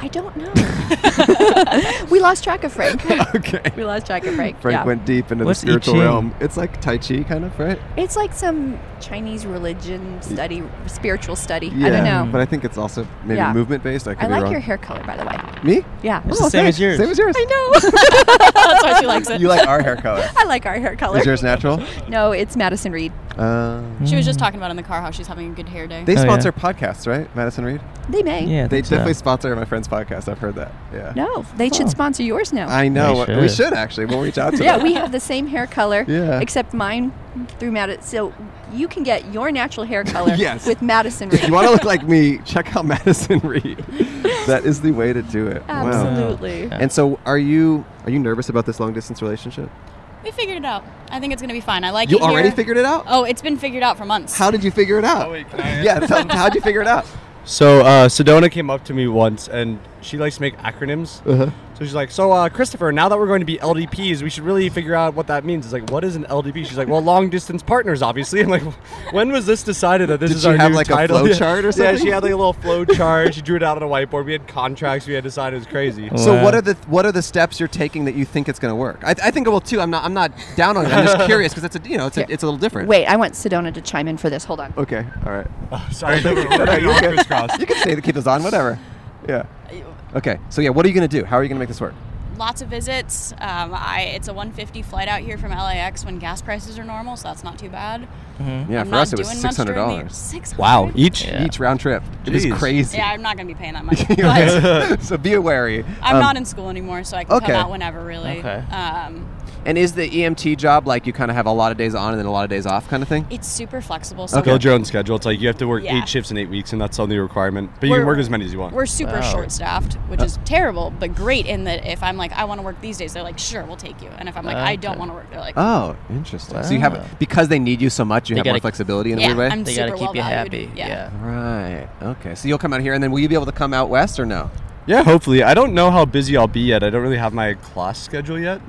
Speaker 8: I don't know. we lost track of Frank.
Speaker 2: okay.
Speaker 8: We lost track of Frank.
Speaker 2: Frank
Speaker 8: yeah.
Speaker 2: went deep into
Speaker 3: What's I
Speaker 2: the spiritual
Speaker 3: Ching?
Speaker 2: realm. It's like Tai Chi, kind of, right?
Speaker 8: It's like some Chinese religion study, spiritual study.
Speaker 2: Yeah.
Speaker 8: I don't know.
Speaker 2: But I think it's also maybe
Speaker 8: Yeah.
Speaker 2: movement based. I could
Speaker 8: I
Speaker 2: be
Speaker 8: like
Speaker 2: wrong.
Speaker 8: your hair color, by the way.
Speaker 2: Me?
Speaker 8: Yeah.
Speaker 3: It's
Speaker 6: Oh,
Speaker 3: the same as yours.
Speaker 2: Same as yours.
Speaker 8: I know.
Speaker 6: That's why she likes it.
Speaker 2: You like our hair color.
Speaker 8: I like our hair color.
Speaker 2: Is yours natural?
Speaker 8: No, it's Madison Reed.
Speaker 2: Uh,
Speaker 6: she was just talking about in the car how she's having a good hair day.
Speaker 2: they
Speaker 3: Oh, yeah.
Speaker 2: sponsor podcasts, right? Madison Reed.
Speaker 8: They may.
Speaker 3: Yeah, I
Speaker 2: They
Speaker 3: think so.
Speaker 2: definitely sponsor my friend's podcast. I've heard that. Yeah.
Speaker 8: No, they should
Speaker 3: Oh.
Speaker 8: sponsor yours now.
Speaker 2: I know.
Speaker 3: They
Speaker 2: We
Speaker 3: should.
Speaker 2: should actually. We'll reach out to
Speaker 8: yeah,
Speaker 2: them.
Speaker 8: we have the same hair color.
Speaker 2: Yeah.
Speaker 8: Except mine through Madison. So you can get your natural hair color
Speaker 2: Yes.
Speaker 8: with Madison
Speaker 2: if
Speaker 8: Reed.
Speaker 2: you want to look like me, check out Madison Reed. that is the way to do it. Wow.
Speaker 8: Absolutely.
Speaker 3: Wow.
Speaker 2: And so, are you are you nervous about this long distance relationship?
Speaker 6: We figured it out. I think it's gonna be fine. I like
Speaker 2: you
Speaker 6: it here.
Speaker 2: already figured it out.
Speaker 6: Oh, it's been figured out for months.
Speaker 2: How did you figure it out?
Speaker 7: Oh, wait, can I
Speaker 2: yeah. Tell, how'd you figure it out?
Speaker 7: So uh, Sedona came up to me once, and she likes to make acronyms.
Speaker 2: Uh-huh.
Speaker 7: So she's like, "So uh, Christopher, now that we're going to be LDPs, we should really figure out what that means." It's like, "What is an LDP?" She's like, "Well, long distance partners, obviously." I'm like, "When was this decided that this
Speaker 2: Did
Speaker 7: is
Speaker 2: she
Speaker 7: our
Speaker 2: have,
Speaker 7: new
Speaker 2: like, a
Speaker 7: title?"
Speaker 2: flow
Speaker 7: Yeah.
Speaker 2: chart or
Speaker 7: Yeah,
Speaker 2: something?
Speaker 7: she had like a little flow chart. She drew it out on a whiteboard. We had contracts. We had decided it was crazy.
Speaker 2: So
Speaker 3: Wow.
Speaker 2: what are the what are the steps you're taking that you think it's going to work? I, I think it will too. I'm not I'm not down on it. I'm just curious because it's a you know it's a, it's a little different.
Speaker 8: Wait, I want Sedona to chime in for this. Hold on.
Speaker 2: Okay. All right.
Speaker 7: Oh, Sorry, they were working on crisscross.
Speaker 2: You can stay the keep this on. Whatever. Yeah. Okay. So yeah, what are you going to do? How are you going to make this work?
Speaker 6: Lots of visits. Um, I it's a 150 flight out here from LAX when gas prices are normal, so that's not too bad.
Speaker 2: Yeah.
Speaker 6: Mm-hmm. I'm
Speaker 2: for
Speaker 6: not
Speaker 2: us, it was
Speaker 6: doing
Speaker 2: six
Speaker 6: much
Speaker 2: hundred
Speaker 6: during the-
Speaker 2: dollars.
Speaker 6: $600?
Speaker 2: Wow. Each
Speaker 3: Yeah.
Speaker 2: each round trip. It is
Speaker 7: Jeez.
Speaker 2: crazy.
Speaker 6: Yeah, I'm not gonna be paying that much.
Speaker 2: You
Speaker 6: but-
Speaker 2: know, so be wary.
Speaker 6: I'm
Speaker 2: Um,
Speaker 6: not in school anymore, so I can
Speaker 2: okay.
Speaker 6: come out whenever, really.
Speaker 3: Okay.
Speaker 6: Um,
Speaker 2: And is the EMT job like you kind of have a lot of days on and then a lot of days off kind of thing?
Speaker 6: it's super flexible. So
Speaker 7: Build your own schedule. It's like you have to work
Speaker 6: Yeah.
Speaker 7: eight shifts in eight weeks, and that's only a requirement. But you
Speaker 6: We're-
Speaker 7: can work as many as you want. Uh.
Speaker 6: we're super
Speaker 3: Wow.
Speaker 6: short-staffed, which is terrible, but great in that if I'm like, I want to work these days, they're like, sure, we'll take you. And if I'm like, I don't
Speaker 3: Okay.
Speaker 6: want to work, they're
Speaker 7: Uh,
Speaker 6: like,
Speaker 2: Oh, interesting. So you
Speaker 3: Wow.
Speaker 7: Ah.
Speaker 2: have because they need you so much, you
Speaker 3: They
Speaker 2: have more
Speaker 3: gotta-
Speaker 2: flexibility in a
Speaker 6: yeah,
Speaker 2: weird way.
Speaker 6: I'm
Speaker 3: They
Speaker 6: super
Speaker 3: gotta keep
Speaker 6: well
Speaker 3: you
Speaker 6: valued.
Speaker 3: happy.
Speaker 6: Yeah.
Speaker 2: right. Okay. So you'll come out here, and then will you be able to come out west or no?
Speaker 7: Yeah, hopefully. I don't know how busy I'll be yet. I don't really have my class schedule yet.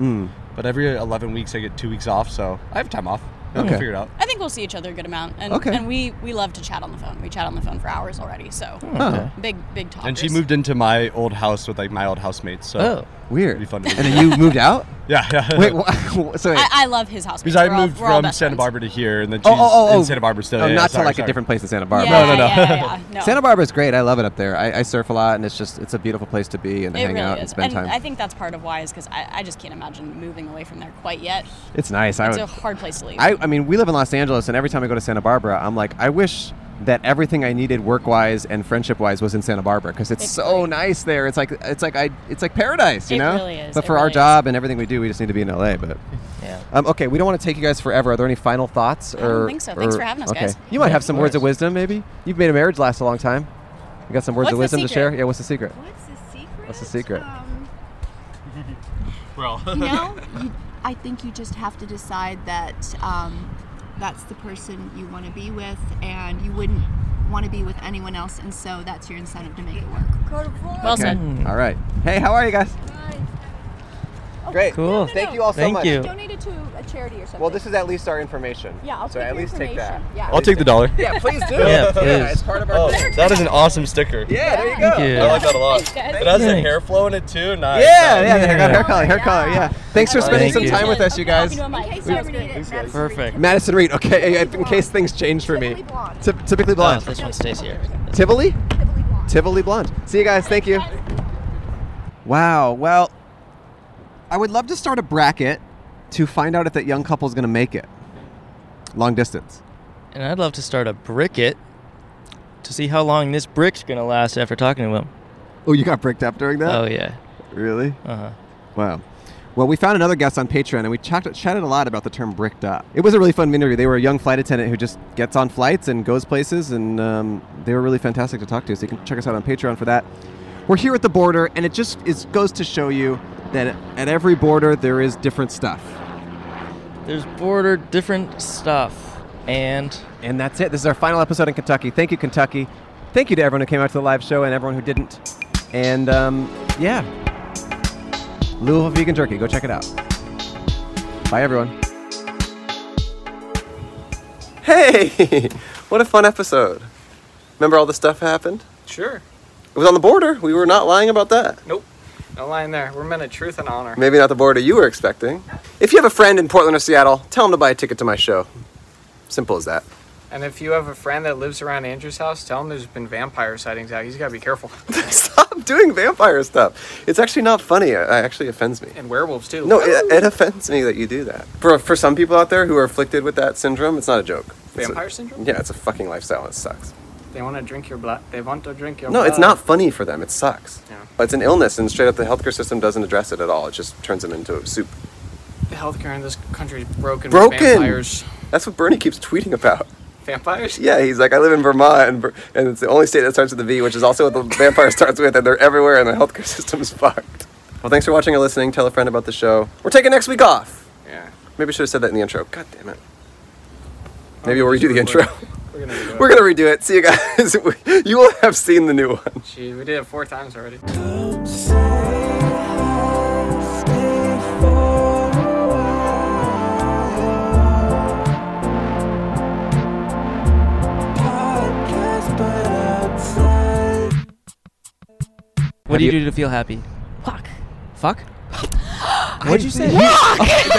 Speaker 7: But every 11 weeks, I get two weeks off, so Oh, I have time off. I'll
Speaker 2: Okay.
Speaker 7: figure it out.
Speaker 6: I think we'll see each other a good amount. And,
Speaker 2: Okay.
Speaker 6: and we, we love to chat on the phone. We chat on the phone for hours already, so
Speaker 2: Oh,
Speaker 6: big, big talk.
Speaker 7: And she moved into my old house with like my old housemates, so
Speaker 3: Oh.
Speaker 2: weird.
Speaker 7: it'll be fun.
Speaker 2: And
Speaker 7: To
Speaker 2: then you moved out.
Speaker 7: yeah, yeah.
Speaker 2: Wait. wha- so wait.
Speaker 6: I, I love his house.
Speaker 7: because I moved from Santa Barbara to here, and then she's in Santa Barbara still.
Speaker 2: Oh,
Speaker 7: yeah,
Speaker 2: not
Speaker 7: sorry,
Speaker 2: to like
Speaker 7: sorry.
Speaker 2: a different place in Santa Barbara.
Speaker 6: Yeah,
Speaker 7: no, no.
Speaker 6: Yeah, yeah, yeah. No.
Speaker 2: Santa Barbara's great. I love it up there. I, I surf a lot, and it's just it's a beautiful place to be and to
Speaker 6: It
Speaker 2: hang
Speaker 6: really
Speaker 2: out
Speaker 6: is.
Speaker 2: and spend
Speaker 6: and
Speaker 2: time.
Speaker 6: I think that's part of why is because I, I just can't imagine moving away from there quite yet.
Speaker 2: it's nice. I
Speaker 6: It's
Speaker 2: would.
Speaker 6: a hard place to leave.
Speaker 2: I, I mean, we live in Los Angeles, and every time I go to Santa Barbara, I'm like, I wish that everything I needed work-wise and friendship-wise was in Santa Barbara because it's,
Speaker 6: It's
Speaker 2: so
Speaker 6: great.
Speaker 2: nice there. It's like it's like I it's like paradise, you
Speaker 6: It
Speaker 2: know.
Speaker 6: really is.
Speaker 2: But
Speaker 6: It
Speaker 2: for our
Speaker 6: really is.
Speaker 2: job and everything we do, we just need to be in LA. But
Speaker 3: Yeah.
Speaker 2: um, okay, we don't want to take you guys forever. Are there any final thoughts? Or,
Speaker 6: don't think so. Thanks
Speaker 2: or-
Speaker 6: for having us,
Speaker 2: okay.
Speaker 6: guys.
Speaker 2: You might
Speaker 3: Yeah,
Speaker 2: have
Speaker 3: of
Speaker 2: some words of
Speaker 3: course.
Speaker 2: wisdom, maybe. You've made a marriage last a long time. You got some words
Speaker 6: What's
Speaker 2: of
Speaker 6: the
Speaker 2: wisdom to
Speaker 6: secret?
Speaker 2: share? Yeah. What's the secret?
Speaker 4: What's the secret?
Speaker 2: What's the secret?
Speaker 4: Um,
Speaker 7: Well,
Speaker 4: you know, you, I think you just have to decide that um, that's the person you want to be with, and you wouldn't want to be with anyone else, and so that's your incentive to make it work.
Speaker 6: well
Speaker 2: Okay.
Speaker 6: said.
Speaker 2: All right. Hey, how are you guys? Great.
Speaker 3: Cool.
Speaker 2: Thank you all so
Speaker 3: Oh, Thank
Speaker 2: much.
Speaker 3: you.
Speaker 8: Donate it to a charity or something.
Speaker 2: Well, this is at least our information.
Speaker 8: Yeah, I'll
Speaker 2: so
Speaker 8: take
Speaker 2: at
Speaker 8: your
Speaker 2: least take that.
Speaker 8: information. Yeah.
Speaker 7: I'll take the dollar.
Speaker 2: Yeah, please do.
Speaker 3: Yeah, please.
Speaker 2: it's part of our.
Speaker 7: Oh,
Speaker 2: thing.
Speaker 7: that is an awesome sticker.
Speaker 2: Yeah, there you go.
Speaker 3: Thank you.
Speaker 7: I like that a lot. It has the
Speaker 3: Thanks.
Speaker 7: hair flow in it too. Nice. nice.
Speaker 2: Yeah, yeah, I got hair
Speaker 3: Yeah.
Speaker 2: color, hair color. Yeah. Thanks for spending
Speaker 3: Thank
Speaker 2: some
Speaker 3: you.
Speaker 2: time with us, you guys.
Speaker 4: In case you ever need it, Madison Reed
Speaker 3: Perfect.
Speaker 4: can-
Speaker 2: Madison Reed. Okay, in case things change for me.
Speaker 4: Typically blonde.
Speaker 2: Typ- Typically
Speaker 3: Oh,
Speaker 2: blonde.
Speaker 3: this one stays here.
Speaker 2: Tivoli.
Speaker 4: Typically blonde.
Speaker 2: Tivoli Blonde. See you guys. Thank you. Wow. Well, I would love to start a bracket to find out if that young couple's going to make it long distance.
Speaker 3: And I'd love to start a bricket to see how long this brick's gonna last after talking to him.
Speaker 2: Oh, you got bricked up during that?
Speaker 3: Oh yeah.
Speaker 2: Really?
Speaker 3: Uh huh.
Speaker 2: Wow. Well, we found another guest on Patreon, and we chatted, chatted a lot about the term bricked up. It was a really fun interview. They were a young flight attendant who just gets on flights and goes places, and um, they were really fantastic to talk to. So you can check us out on Patreon for that. We're here at the border, and it just is, goes to show you that at every border there is different stuff.
Speaker 3: There's border different stuff, and
Speaker 2: And that's it. This is our final episode in Kentucky. Thank you, Kentucky. Thank you to everyone who came out to the live show and everyone who didn't. And um, yeah, Louisville Vegan Jerky. Go check it out. Bye, everyone.
Speaker 9: Hey, what a fun episode. Remember all the stuff happened?
Speaker 1: Sure.
Speaker 9: It was on the border. We were not lying about that.
Speaker 1: Nope. No line there. We're men of truth and honor.
Speaker 9: Maybe not the border you were expecting. If you have a friend in Portland or Seattle, tell them to buy a ticket to my show. Simple as that.
Speaker 1: And if you have a friend that lives around Andrew's house, tell him there's been vampire sightings out. He's got to be careful.
Speaker 9: Stop doing vampire stuff. It's actually not funny. It actually offends me.
Speaker 1: And werewolves, too.
Speaker 9: No, it, it offends me that you do that. For, for some people out there who are afflicted with that syndrome, it's not a joke. It's a-
Speaker 1: Vampire syndrome?
Speaker 9: yeah, it's a fucking lifestyle. and It sucks.
Speaker 1: They want to drink your blood. They want to drink your
Speaker 9: No,
Speaker 1: blood.
Speaker 9: it's not funny for them. It sucks.
Speaker 1: Yeah.
Speaker 9: It's an illness, and straight up the healthcare system doesn't address it at all. It just turns them into soup.
Speaker 1: The healthcare in this country is broken. with
Speaker 9: Broken!
Speaker 1: Vampires.
Speaker 9: That's what Bernie keeps tweeting about.
Speaker 1: Vampires?
Speaker 9: Yeah, he's like, I live in Vermont, and, Ver- and it's the only state that starts with a V, which is also what the vampire starts with, and they're everywhere, and the healthcare system is fucked. Well, thanks for watching and listening. Tell a friend about the show. We're taking next week off.
Speaker 1: Yeah.
Speaker 9: Maybe I should have said that in the intro. God damn it. Maybe we'll redo the intro.
Speaker 1: We're going to do it.
Speaker 9: We're gonna redo it. See you guys. you will have seen the new one.
Speaker 1: Gee, we did it four times already.
Speaker 3: what do you, do to feel happy?
Speaker 8: Fuck.
Speaker 3: Fuck.
Speaker 2: What'd you say?